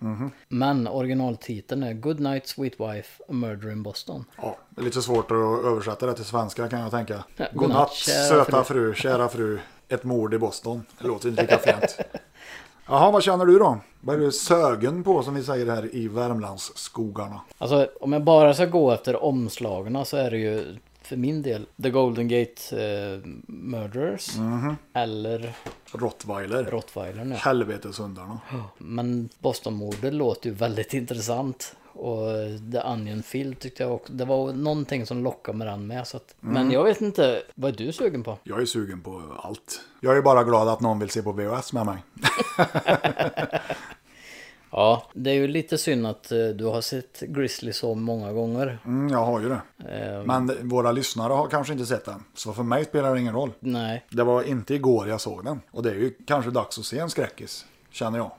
Speaker 2: Men originaltiteln är Good Night Sweet Wife, A Murder in Boston.
Speaker 1: Ja, det är lite svårt att översätta det till svenska kan jag tänka.
Speaker 2: Ja,
Speaker 1: Godnatt,
Speaker 2: godnatt, kära
Speaker 1: söta fru, kära fru. Ett mord i Boston. Det låter inte lika fint. Jaha, vad känner du då? Vad är du sögen på som vi säger här i Värmlandsskogarna?
Speaker 2: Alltså om jag bara ska gå efter omslagen så är det ju för min del The Golden Gate eh, Murderers eller
Speaker 1: Rottweiler.
Speaker 2: Rottweilern. ja.
Speaker 1: Helveteshundarna.
Speaker 2: Men Bostonmordet låter ju väldigt intressant. Och The Onion Field tyckte jag också. Det var någonting som lockade med den med. Så att, Men jag vet inte, vad är du sugen på?
Speaker 1: Jag är sugen på allt. Jag är bara glad att någon vill se på VHS med mig.
Speaker 2: Ja, det är ju lite synd att eh, du har sett Grizzly så många gånger.
Speaker 1: Mm, jag har ju det.
Speaker 2: Ehm.
Speaker 1: Men våra lyssnare har kanske inte sett den. Så för mig spelar det ingen roll.
Speaker 2: Nej,
Speaker 1: Det var inte igår jag såg den. Och det är ju kanske dags att se en skräckis, känner jag.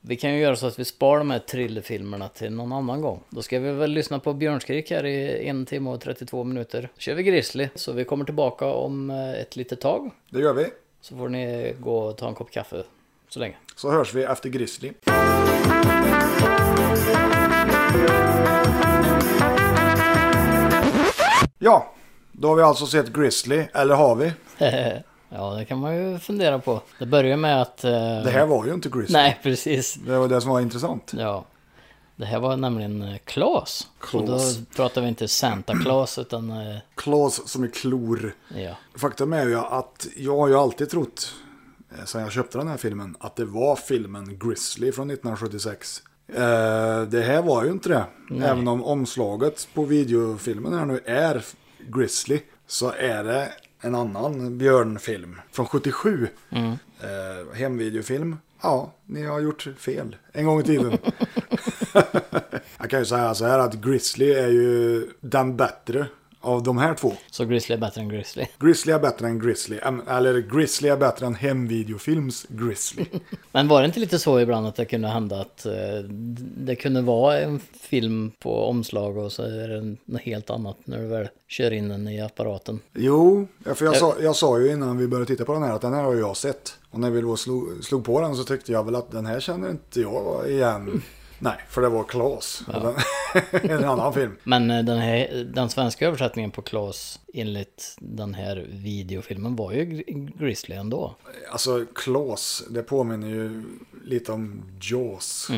Speaker 2: vi kan ju göra så att vi sparar de här thrillerfilmerna till någon annan gång. Då ska vi väl lyssna på Björnskrik här i en timme och 32 minuter. kör vi Grizzly, så vi kommer tillbaka om eh, ett litet tag.
Speaker 1: Det gör vi.
Speaker 2: Så får ni gå och ta en kopp kaffe så länge.
Speaker 1: Så hörs vi efter Grizzly. Ja, då har vi alltså sett Grizzly, eller har vi?
Speaker 2: Ja, det kan man ju fundera på. Det börjar med att... eh,
Speaker 1: Det här var ju inte Grizzly.
Speaker 2: Nej, precis.
Speaker 1: Det var det som var intressant.
Speaker 2: Ja. Det här var nämligen eh, Claes. Och då
Speaker 1: Claes.
Speaker 2: pratar vi inte Santa Claus utan... eh,
Speaker 1: Claes som är klor.
Speaker 2: Ja.
Speaker 1: Faktum är ju att jag har ju alltid trott, eh, sen jag köpte den här filmen, att det var filmen Grizzly från 1976. Eh, det här var ju inte det. Även om omslaget på videofilmen här nu är Grizzly, så är det en annan björnfilm från 77. Eh, hemvideofilm. Ja, ni har gjort fel en gång i tiden. jag kan ju säga så här att Grizzly är ju den bättre av de här två.
Speaker 2: Så Grizzly är bättre än Grizzly.
Speaker 1: Grizzly är bättre än Grizzly. Äm, Eller Grizzly är bättre än hemvideofilms Grizzly.
Speaker 2: Men var det inte lite så ibland att det kunde hända att eh, d- det kunde vara en film på omslag och så är det något helt annat när du väl kör in den i apparaten?
Speaker 1: jo, ja, för jag sa, jag sa ju innan vi började titta på den här att den här har jag sett. Och när vi då slog, slog på den så tyckte jag väl att den här känner inte jag igen. Nej, för det var Klas. Och den- en annan film.
Speaker 2: Men eh, den, här, den svenska översättningen på Klas enligt den här videofilmen var ju Gr- Grizzly ändå.
Speaker 1: Alltså Klas, det påminner ju lite om Jaws.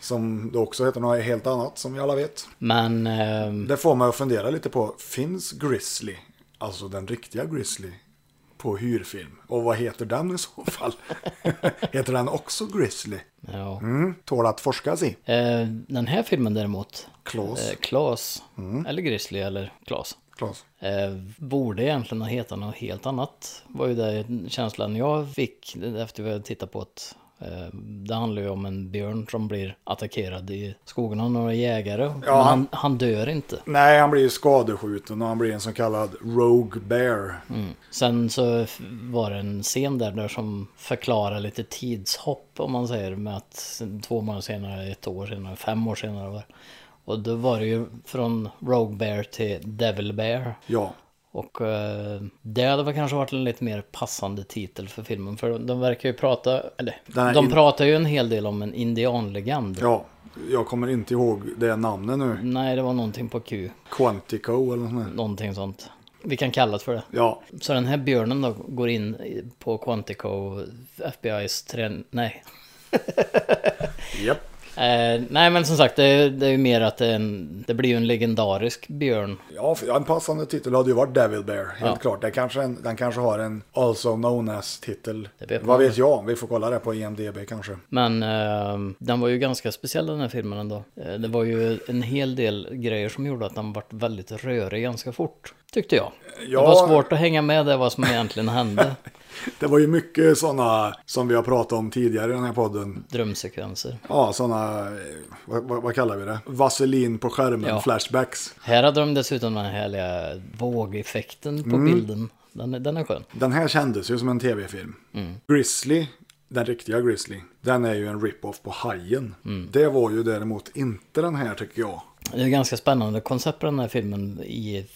Speaker 1: Som det också heter något helt annat som vi alla vet.
Speaker 2: Men ehm,
Speaker 1: Det får mig att fundera lite på, finns Grizzly, alltså den riktiga Grizzly, på hyrfilm? Och vad heter den i så fall? heter den också Grizzly?
Speaker 2: ja.
Speaker 1: Mm, tål att forskas i.
Speaker 2: Eh, den här filmen däremot,
Speaker 1: Klas.
Speaker 2: eh, Klas, eller Grizzly eller Klas,
Speaker 1: Klas.
Speaker 2: eh, borde egentligen ha hetat något helt annat. var ju det känslan jag fick efter vi hade tittat på det. Eh, Det handlar ju om en björn som blir attackerad i skogen av några jägare. Men han, han dör inte.
Speaker 1: Nej, han blir ju skadeskjuten och han blir en så kallad Rogue Bear.
Speaker 2: Sen så f- var det en scen där, där som förklarar lite tidshopp om man säger med att sen två månader senare, ett år senare, fem år senare var Och då var det ju från Rogue Bear till Devil Bear.
Speaker 1: Ja,
Speaker 2: Och eh, det hade väl kanske varit en lite mer passande titel för filmen. För de verkar ju prata, eller
Speaker 1: Den här
Speaker 2: de
Speaker 1: in-
Speaker 2: pratar ju en hel del om en indianlegend.
Speaker 1: ja. Jag kommer inte ihåg det namnet nu.
Speaker 2: Nej, det var någonting på Q,
Speaker 1: Quantico eller något sånt.
Speaker 2: någonting sånt. Vi kan kalla det för det.
Speaker 1: Ja,
Speaker 2: Så den här björnen då går in i- på Quantico, FBI's trän... Nej.
Speaker 1: Japp.
Speaker 2: Eh, nej men som sagt, det, det är ju mer att det, är en, det blir ju en legendarisk björn.
Speaker 1: Ja, för- ja, en passande titel hade ju varit Devil Bear, helt
Speaker 2: Ja.
Speaker 1: klart. Det kanske en, den kanske har en also known as-titel.
Speaker 2: Det vet man
Speaker 1: Vad vet
Speaker 2: inte.
Speaker 1: jag? Vi får kolla det på IMDB kanske.
Speaker 2: Men eh, den var ju ganska speciell den här filmen ändå. Eh, det var ju en hel del grejer som gjorde att den vart väldigt rörig ganska fort. Tyckte jag.
Speaker 1: Ja.
Speaker 2: Det var svårt att hänga med det vad som egentligen hände.
Speaker 1: Det var ju mycket sådana som vi har pratat om tidigare i den här podden.
Speaker 2: Drömsekvenser.
Speaker 1: Ja, sådana, vad, vad, vad kallar vi det? Vaselin på skärmen,
Speaker 2: Ja.
Speaker 1: flashbacks.
Speaker 2: Här hade de dessutom den här härliga vågeffekten på bilden. Den, är- den är skön.
Speaker 1: Den här kändes ju som en tv-film.
Speaker 2: Mm.
Speaker 1: Grizzly, den riktiga Grizzly, den är ju en rip-off på Hajen.
Speaker 2: Mm.
Speaker 1: Det var ju däremot inte den här tycker jag.
Speaker 2: Det är ett ganska spännande koncept på den här filmen i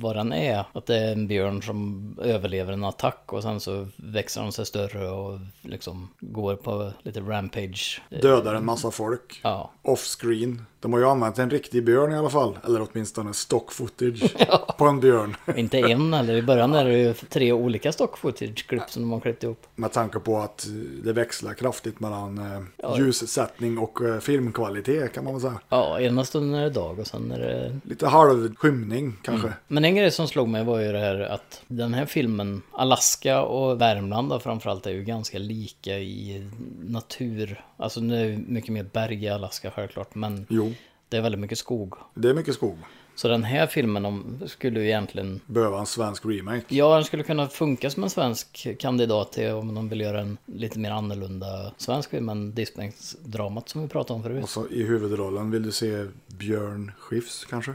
Speaker 2: vad den är. Att det är en björn som överlever en attack och sen så växer de sig större och liksom går på lite rampage.
Speaker 1: Dödar en massa folk.
Speaker 2: Ja.
Speaker 1: Offscreen. De har ju använt en riktig björn i alla fall. Eller åtminstone stock footage på en björn.
Speaker 2: Inte en eller i början är det ju tre olika stock footage-klipp som de har klippt ihop.
Speaker 1: Med tanke på att eh, det växlar kraftigt mellan eh, ljussättning och eh, filmkvalitet kan man väl säga.
Speaker 2: Ja, ena stunden är det dag och sen är det...
Speaker 1: Lite halvskymning kanske.
Speaker 2: Men en grej som slog mig var ju det här att den här filmen, Alaska och Värmland då, framförallt är ju ganska lika i natur. Alltså nu är det mycket mer berg i Alaska självklart, men
Speaker 1: Jo,
Speaker 2: det är väldigt mycket skog.
Speaker 1: det är mycket skog.
Speaker 2: Så den här filmen om, skulle ju egentligen...
Speaker 1: Behöva en svensk remake.
Speaker 2: Ja, den skulle kunna funka som en svensk kandidat till om de vill göra en lite mer annorlunda svensk film än Disney-dramat som vi pratade om
Speaker 1: Och
Speaker 2: förut.
Speaker 1: så i huvudrollen vill du se Björn Skifs kanske?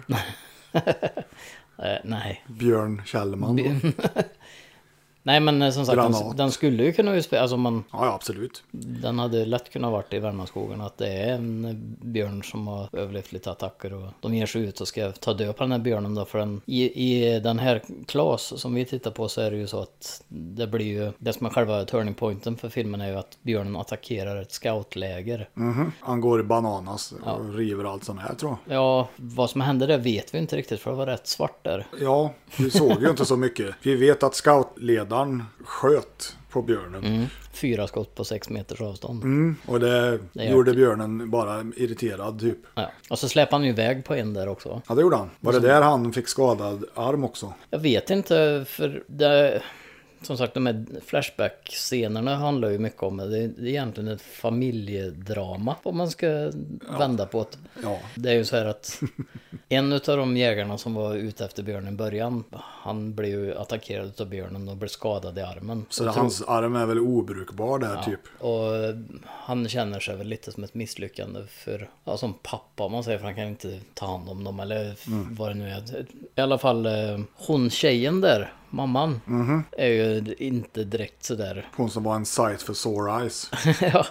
Speaker 2: Eh, nej.
Speaker 1: Björn Kjellman? då? Ja,
Speaker 2: Nej, men eh, som sagt, den,
Speaker 1: Granat.
Speaker 2: den skulle ju kunna utspela... Alltså man,
Speaker 1: ja, absolut.
Speaker 2: den hade lätt kunnat varit i Värmlandsskogen att det är en eh, björn som har överlevt lite attacker och de ger sig ut och ska ta död på den här björnen då för den, i, i den här Klas som vi tittar på så är det ju så att det blir ju, det som är själva turning pointen för filmen är ju att björnen attackerar ett scoutläger.
Speaker 1: Mhm. Han går i bananas och river allt sånt här tror jag.
Speaker 2: Ja, vad som hände där vet vi inte riktigt för det var rätt svart där.
Speaker 1: Ja, vi såg ju inte så mycket. Vi vet att scoutledaren sköt på björnen.
Speaker 2: Mm. Fyra skott på sex meters avstånd.
Speaker 1: Och det,
Speaker 2: är
Speaker 1: gjorde björnen bara irriterad typ.
Speaker 2: Ja. Och så släpade han ju iväg på en där också. va?
Speaker 1: Ja, det gjorde han. Var
Speaker 2: Mm.
Speaker 1: det där han fick skadad arm också?
Speaker 2: Jag vet inte, för det... Som sagt, de här Flashback-scenerna handlar ju mycket om det. Det är egentligen ett familjedrama, om man ska vända på det.
Speaker 1: Ja.
Speaker 2: Det är ju så här att en av de jägarna som var ute efter björnen i början, han blev ju attackerad av björnen och blev skadad i armen.
Speaker 1: Så hans arm är väl obrukbar där typ.
Speaker 2: Och han känner sig väl lite som ett misslyckande för, ja, som pappa om man säger, för han kan inte ta hand om dem eller f- vad det nu är. I alla fall eh, hon tjejen där, mamman, är ju inte direkt sådär.
Speaker 1: Hon som var en sight för sore eyes.
Speaker 2: ja.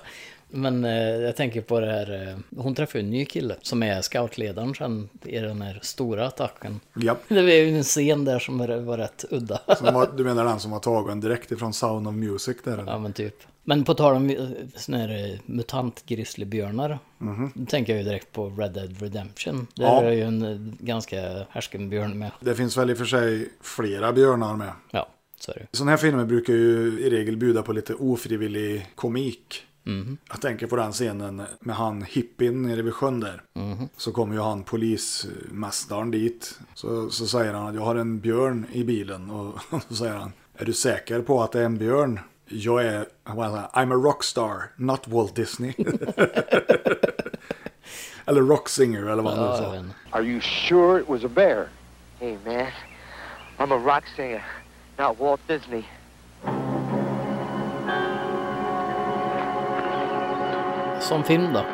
Speaker 2: Men eh, jag tänker på det här, eh, hon träffar ju en ny kille som är scoutledaren sen i den här stora attacken.
Speaker 1: Japp.
Speaker 2: Det var ju en scen där som var var rätt udda.
Speaker 1: Som var- Du menar den som var tagen direkt ifrån Sound of Music där? eller?
Speaker 2: Ja men typ. Men på tal om eh, sån här eh, mutant grizzlybjörnar. Då tänker jag ju direkt på Red Dead Redemption. Där
Speaker 1: Ja.
Speaker 2: är det ju en eh, ganska härsken björn med.
Speaker 1: Det finns väl i och för sig flera björnar med.
Speaker 2: Ja, så är det ju.
Speaker 1: Sådana här filmer brukar ju i regel bjuda på lite ofrivillig komik.
Speaker 2: Mhm.
Speaker 1: Jag tänker på den scenen med han hippin nere vid sjön där.
Speaker 2: Mhm.
Speaker 1: Så kommer ju han polismästaren dit. Så, så säger han att jag har en björn i bilen. Och så säger han, är du säker på att det är en björn? Jag är, han bara så här, I'm a rockstar, not Walt Disney. eller rock-singer eller vad han nu
Speaker 2: Ja, jag vet
Speaker 1: sa.
Speaker 2: inte.
Speaker 7: Are you sure it was a bear?
Speaker 8: Hey, man, I'm a rock singer, not Walt Disney.
Speaker 2: Som film då?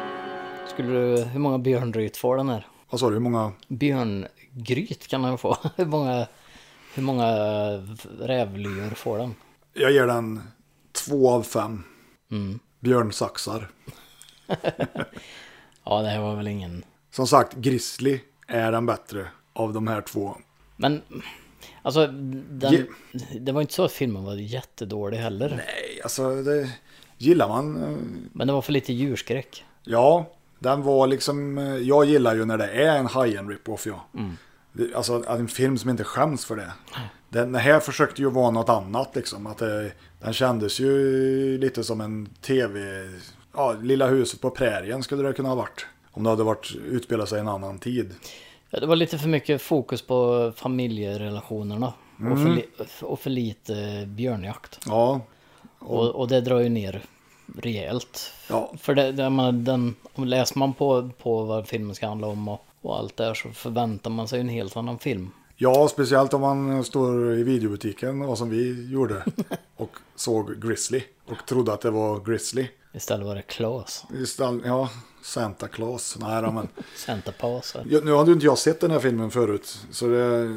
Speaker 2: Skulle du, hur många björngryt får den här?
Speaker 1: Vad sa du, hur många?
Speaker 2: Björngryt kan han få. Hur många, hur många rävlyor får den?
Speaker 1: Jag ger den två av fem.
Speaker 2: Mm.
Speaker 1: Björnsaxar.
Speaker 2: Ja, det här var väl ingen...
Speaker 1: Som sagt, Grizzly är den bättre av de här två.
Speaker 2: Men, alltså, den,
Speaker 1: Ge-
Speaker 2: det var inte så att filmen var jättedålig heller.
Speaker 1: Nej, alltså det gillar man. eh,
Speaker 2: Men det var för lite djurskräck.
Speaker 1: Ja, den var liksom... eh, Jag gillar ju när det är en high-end rip-off, ja. Det- Alltså att en film som inte skäms för det. Den här försökte ju vara något annat liksom. Att det, den kändes ju lite som en tv... Ja, Lilla huset på prärien skulle det kunna ha varit. Om det hade varit utspelat sig i en annan tid.
Speaker 2: Ja, Det var lite för mycket fokus på familjerelationerna. Och, för li, och för lite björnjakt.
Speaker 1: Ja,
Speaker 2: Och, och det drar ju ner rejält.
Speaker 1: ja.
Speaker 2: För det, det man, den, om läser man på, på vad filmen ska handla om och, och allt där så förväntar man sig en helt annan film.
Speaker 1: Ja, speciellt om man står i videobutiken och som vi gjorde och såg Grizzly och trodde att det var Grizzly.
Speaker 2: Istället var det Klas,
Speaker 1: Istället, ja, Santa Claus. Nej då, men.
Speaker 2: Santa Paus.
Speaker 1: Ja, Nu hade ju inte jag sett den här filmen förut, så det,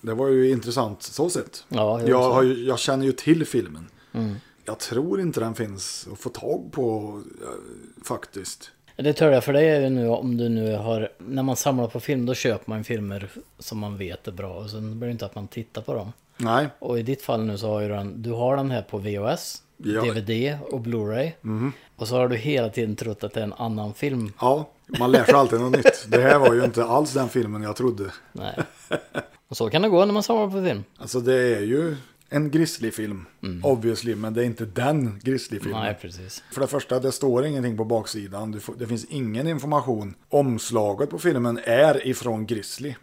Speaker 1: det var ju intressant så sett.
Speaker 2: Ja, jo,
Speaker 1: jag,
Speaker 2: så. Mm.
Speaker 1: har ju, jag känner ju till filmen. Jag tror inte den finns att få tag på eh, faktiskt.
Speaker 2: Det tror jag för dig är ju nu om du nu har, när man samlar på film då köper man filmer som man vet är bra och sen blir det inte att man tittar på dem.
Speaker 1: Nej,
Speaker 2: Och i ditt fall nu så har ju den, du har den här på VHS,
Speaker 1: Ja. Mhm.
Speaker 2: DVD och Blu-ray. Och så har du hela tiden trott att det är en annan film.
Speaker 1: ja, man lär sig alltid något nytt. Det här var ju inte alls den filmen jag trodde.
Speaker 2: Nej. Och så kan det gå när man samlar på film.
Speaker 1: Alltså det är ju en grizzlyfilm, obviously, men det är inte den grizzlyfilmen.
Speaker 2: Nej, precis.
Speaker 1: För det första, det står ingenting på baksidan. Du får, det finns ingen information. Omslaget på filmen är ifrån Grizzly,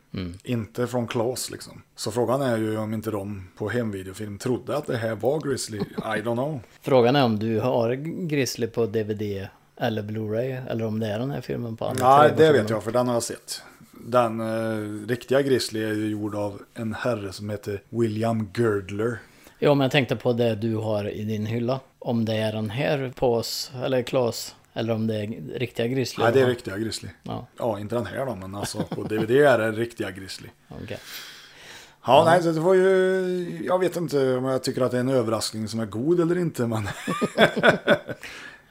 Speaker 1: inte från Claes liksom. Så frågan är ju om inte de på hemvideofilm trodde att det här var Grizzly. I don't know.
Speaker 2: Frågan är om du har Grizzly på DVD eller Blu-ray eller om det är den här filmen på alla
Speaker 1: Nej,
Speaker 2: tre
Speaker 1: det
Speaker 2: versioner.
Speaker 1: vet jag, för den har jag sett. Den eh, riktiga Grizzly är ju gjord av en herre som heter William Girdler.
Speaker 2: Ja, men jag tänkte på det du har i din hylla. Om det är den här Paus eller Klas eller om det är riktiga Grizzly.
Speaker 1: Nej, det är riktiga Grizzly.
Speaker 2: Ja.
Speaker 1: Ja, inte den här då, men alltså på DVD är det riktiga Grizzly.
Speaker 2: Okej.
Speaker 1: Ja, nej, så det var ju... Jag vet inte om jag tycker att det är en överraskning som är god eller inte, men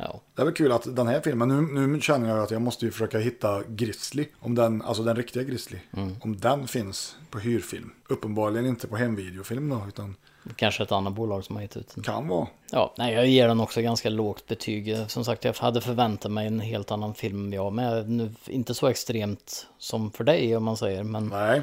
Speaker 2: Ja.
Speaker 1: det är väl kul att den här filmen... Nu, nu känner jag att jag måste ju försöka hitta Grizzly, om den, alltså den riktiga Grizzly,
Speaker 2: Mm.
Speaker 1: om den finns på hyrfilm. Uppenbarligen inte på hemvideofilm då, utan
Speaker 2: Kanske ett annat bolag som har gett ut den.
Speaker 1: kan vara.
Speaker 2: Ja, nej, jag ger den också ganska lågt betyg. Som sagt, jag hade förväntat mig en helt annan film jag med. Nu, inte så extremt som för dig om man säger, men eh,
Speaker 1: Nej,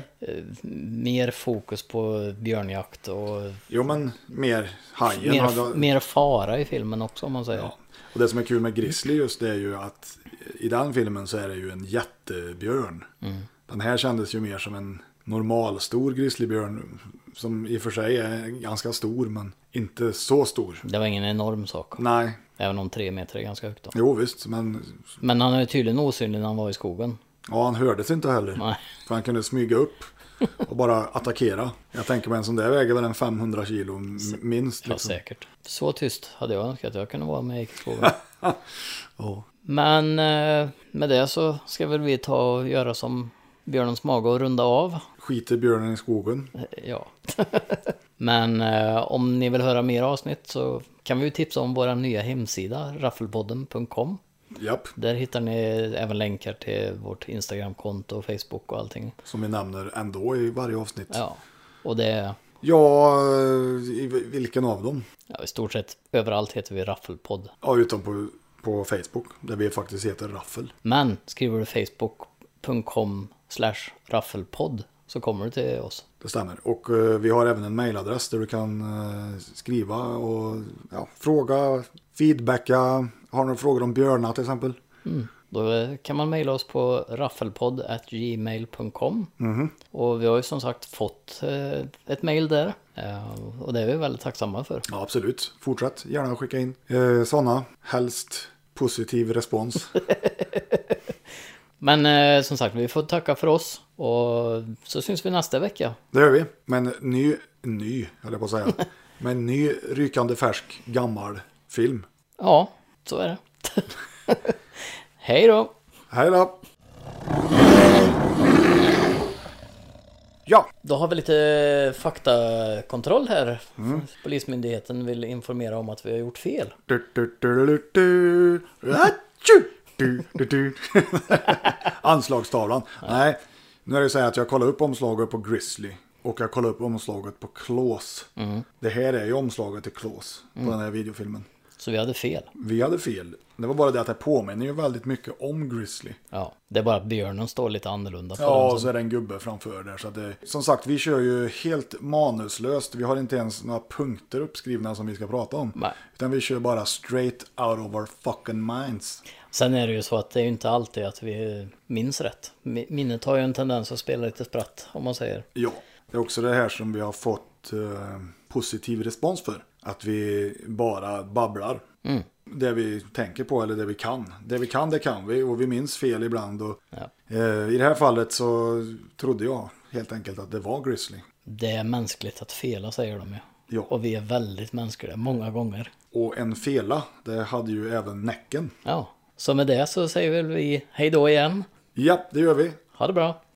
Speaker 2: mer fokus på björnjakt och
Speaker 1: jo men mer hajen.
Speaker 2: mer,
Speaker 1: hade-
Speaker 2: mer fara i filmen också om man säger.
Speaker 1: Ja. Och det som är kul med Grizzly just det är ju att i den filmen så är det ju en jättebjörn.
Speaker 2: Mm.
Speaker 1: Den här kändes ju mer som en normalstor grizzlybjörn. Som i och för sig är ganska stor men inte så stor.
Speaker 2: Det var ingen enorm sak,
Speaker 1: Nej,
Speaker 2: även om tre meter är ganska högt då.
Speaker 1: jo visst men
Speaker 2: Men han är tydligen osynlig när han var i skogen.
Speaker 1: ja, han hördes inte heller.
Speaker 2: Nej.
Speaker 1: För han kunde smyga upp och bara attackera. Jag tänker mig en sån där väger väl en 500 kilo m- minst.
Speaker 2: Ja,
Speaker 1: Liksom.
Speaker 2: säkert. Så tyst hade jag önskat att jag kunde vara med i skogen. Men eh, med det så ska väl vi ta och göra som björnens mage och runda av.
Speaker 1: Skiter björnen i skogen.
Speaker 2: Ja. Men eh, om ni vill höra mer avsnitt så kan vi ju tipsa om vår nya hemsida, raffelpodden.com.
Speaker 1: Japp,
Speaker 2: Där hittar ni även länkar till vårt Instagramkonto, Facebook och allting.
Speaker 1: som vi nämner ändå i varje avsnitt.
Speaker 2: Ja. Och det
Speaker 1: Ja, eh, i vil- vilken av dem?
Speaker 2: Ja, I stort sett överallt heter vi Raffelpodd.
Speaker 1: Ja, utom på, på Facebook, där vi faktiskt heter Raffel.
Speaker 2: Men skriver du facebook.com slash raffelpodd så kommer du till oss.
Speaker 1: Det stämmer. Och eh, vi har även en mailadress där du kan eh, skriva och ja, fråga, feedbacka. Har du några frågor om björnar till exempel?
Speaker 2: Då eh, kan man mejla oss på raffelpodd.gmail.com Och vi har ju som sagt fått eh, ett mejl där. Eh, Och det är vi väldigt tacksamma för.
Speaker 1: Ja, absolut. Fortsätt gärna skicka in eh, sådana. Helst positiv respons.
Speaker 2: Men eh, som sagt, vi får tacka för oss. Och så syns vi nästa vecka.
Speaker 1: Det gör vi. Men ny, ny höll jag på att säga. Men ny rykande färsk gammal film.
Speaker 2: Ja, så är det. Hej då!
Speaker 1: Hej då! Ja,
Speaker 2: Då har vi lite faktakontroll här. Polismyndigheten vill informera om att vi har gjort fel.
Speaker 1: Du, du, du, du, du. Atju! Du, du, du. Anslagstavlan. Nej, nu är det så här att jag kollar upp omslaget på Grizzly och jag kollar upp omslaget på Claws. Det här är ju omslaget till Claws på den här videofilmen.
Speaker 2: Så vi hade fel.
Speaker 1: Vi hade fel. Det var bara det att det påminner ju väldigt mycket om Grizzly.
Speaker 2: Ja, det är bara att björnen står lite annorlunda på
Speaker 1: Ja,
Speaker 2: den.
Speaker 1: och så är det en gubbe framför där. Så att det, som sagt, vi kör ju helt manuslöst. Vi har inte ens några punkter uppskrivna som vi ska prata om.
Speaker 2: Nej.
Speaker 1: Utan vi kör bara straight out of our fucking minds.
Speaker 2: Sen är det ju så att det är ju inte alltid att vi minns rätt. Mi- Minnet har ju en tendens att spela lite spratt, om man säger.
Speaker 1: Ja, det är också det här som vi har fått eh, positiv respons för. Att vi bara babblar. Det vi tänker på eller det vi kan. Det vi kan, det kan vi och vi minns fel ibland. Och, eh, I det här fallet så trodde jag helt enkelt att det var Grizzly.
Speaker 2: Det är mänskligt att fela, säger de ju.
Speaker 1: Ja.
Speaker 2: Och vi är väldigt mänskliga, många gånger.
Speaker 1: Och en fela, det hade ju även Näcken.
Speaker 2: Ja, så med det så säger väl vi hej då igen.
Speaker 1: Ja, det gör vi.
Speaker 2: Ha det bra!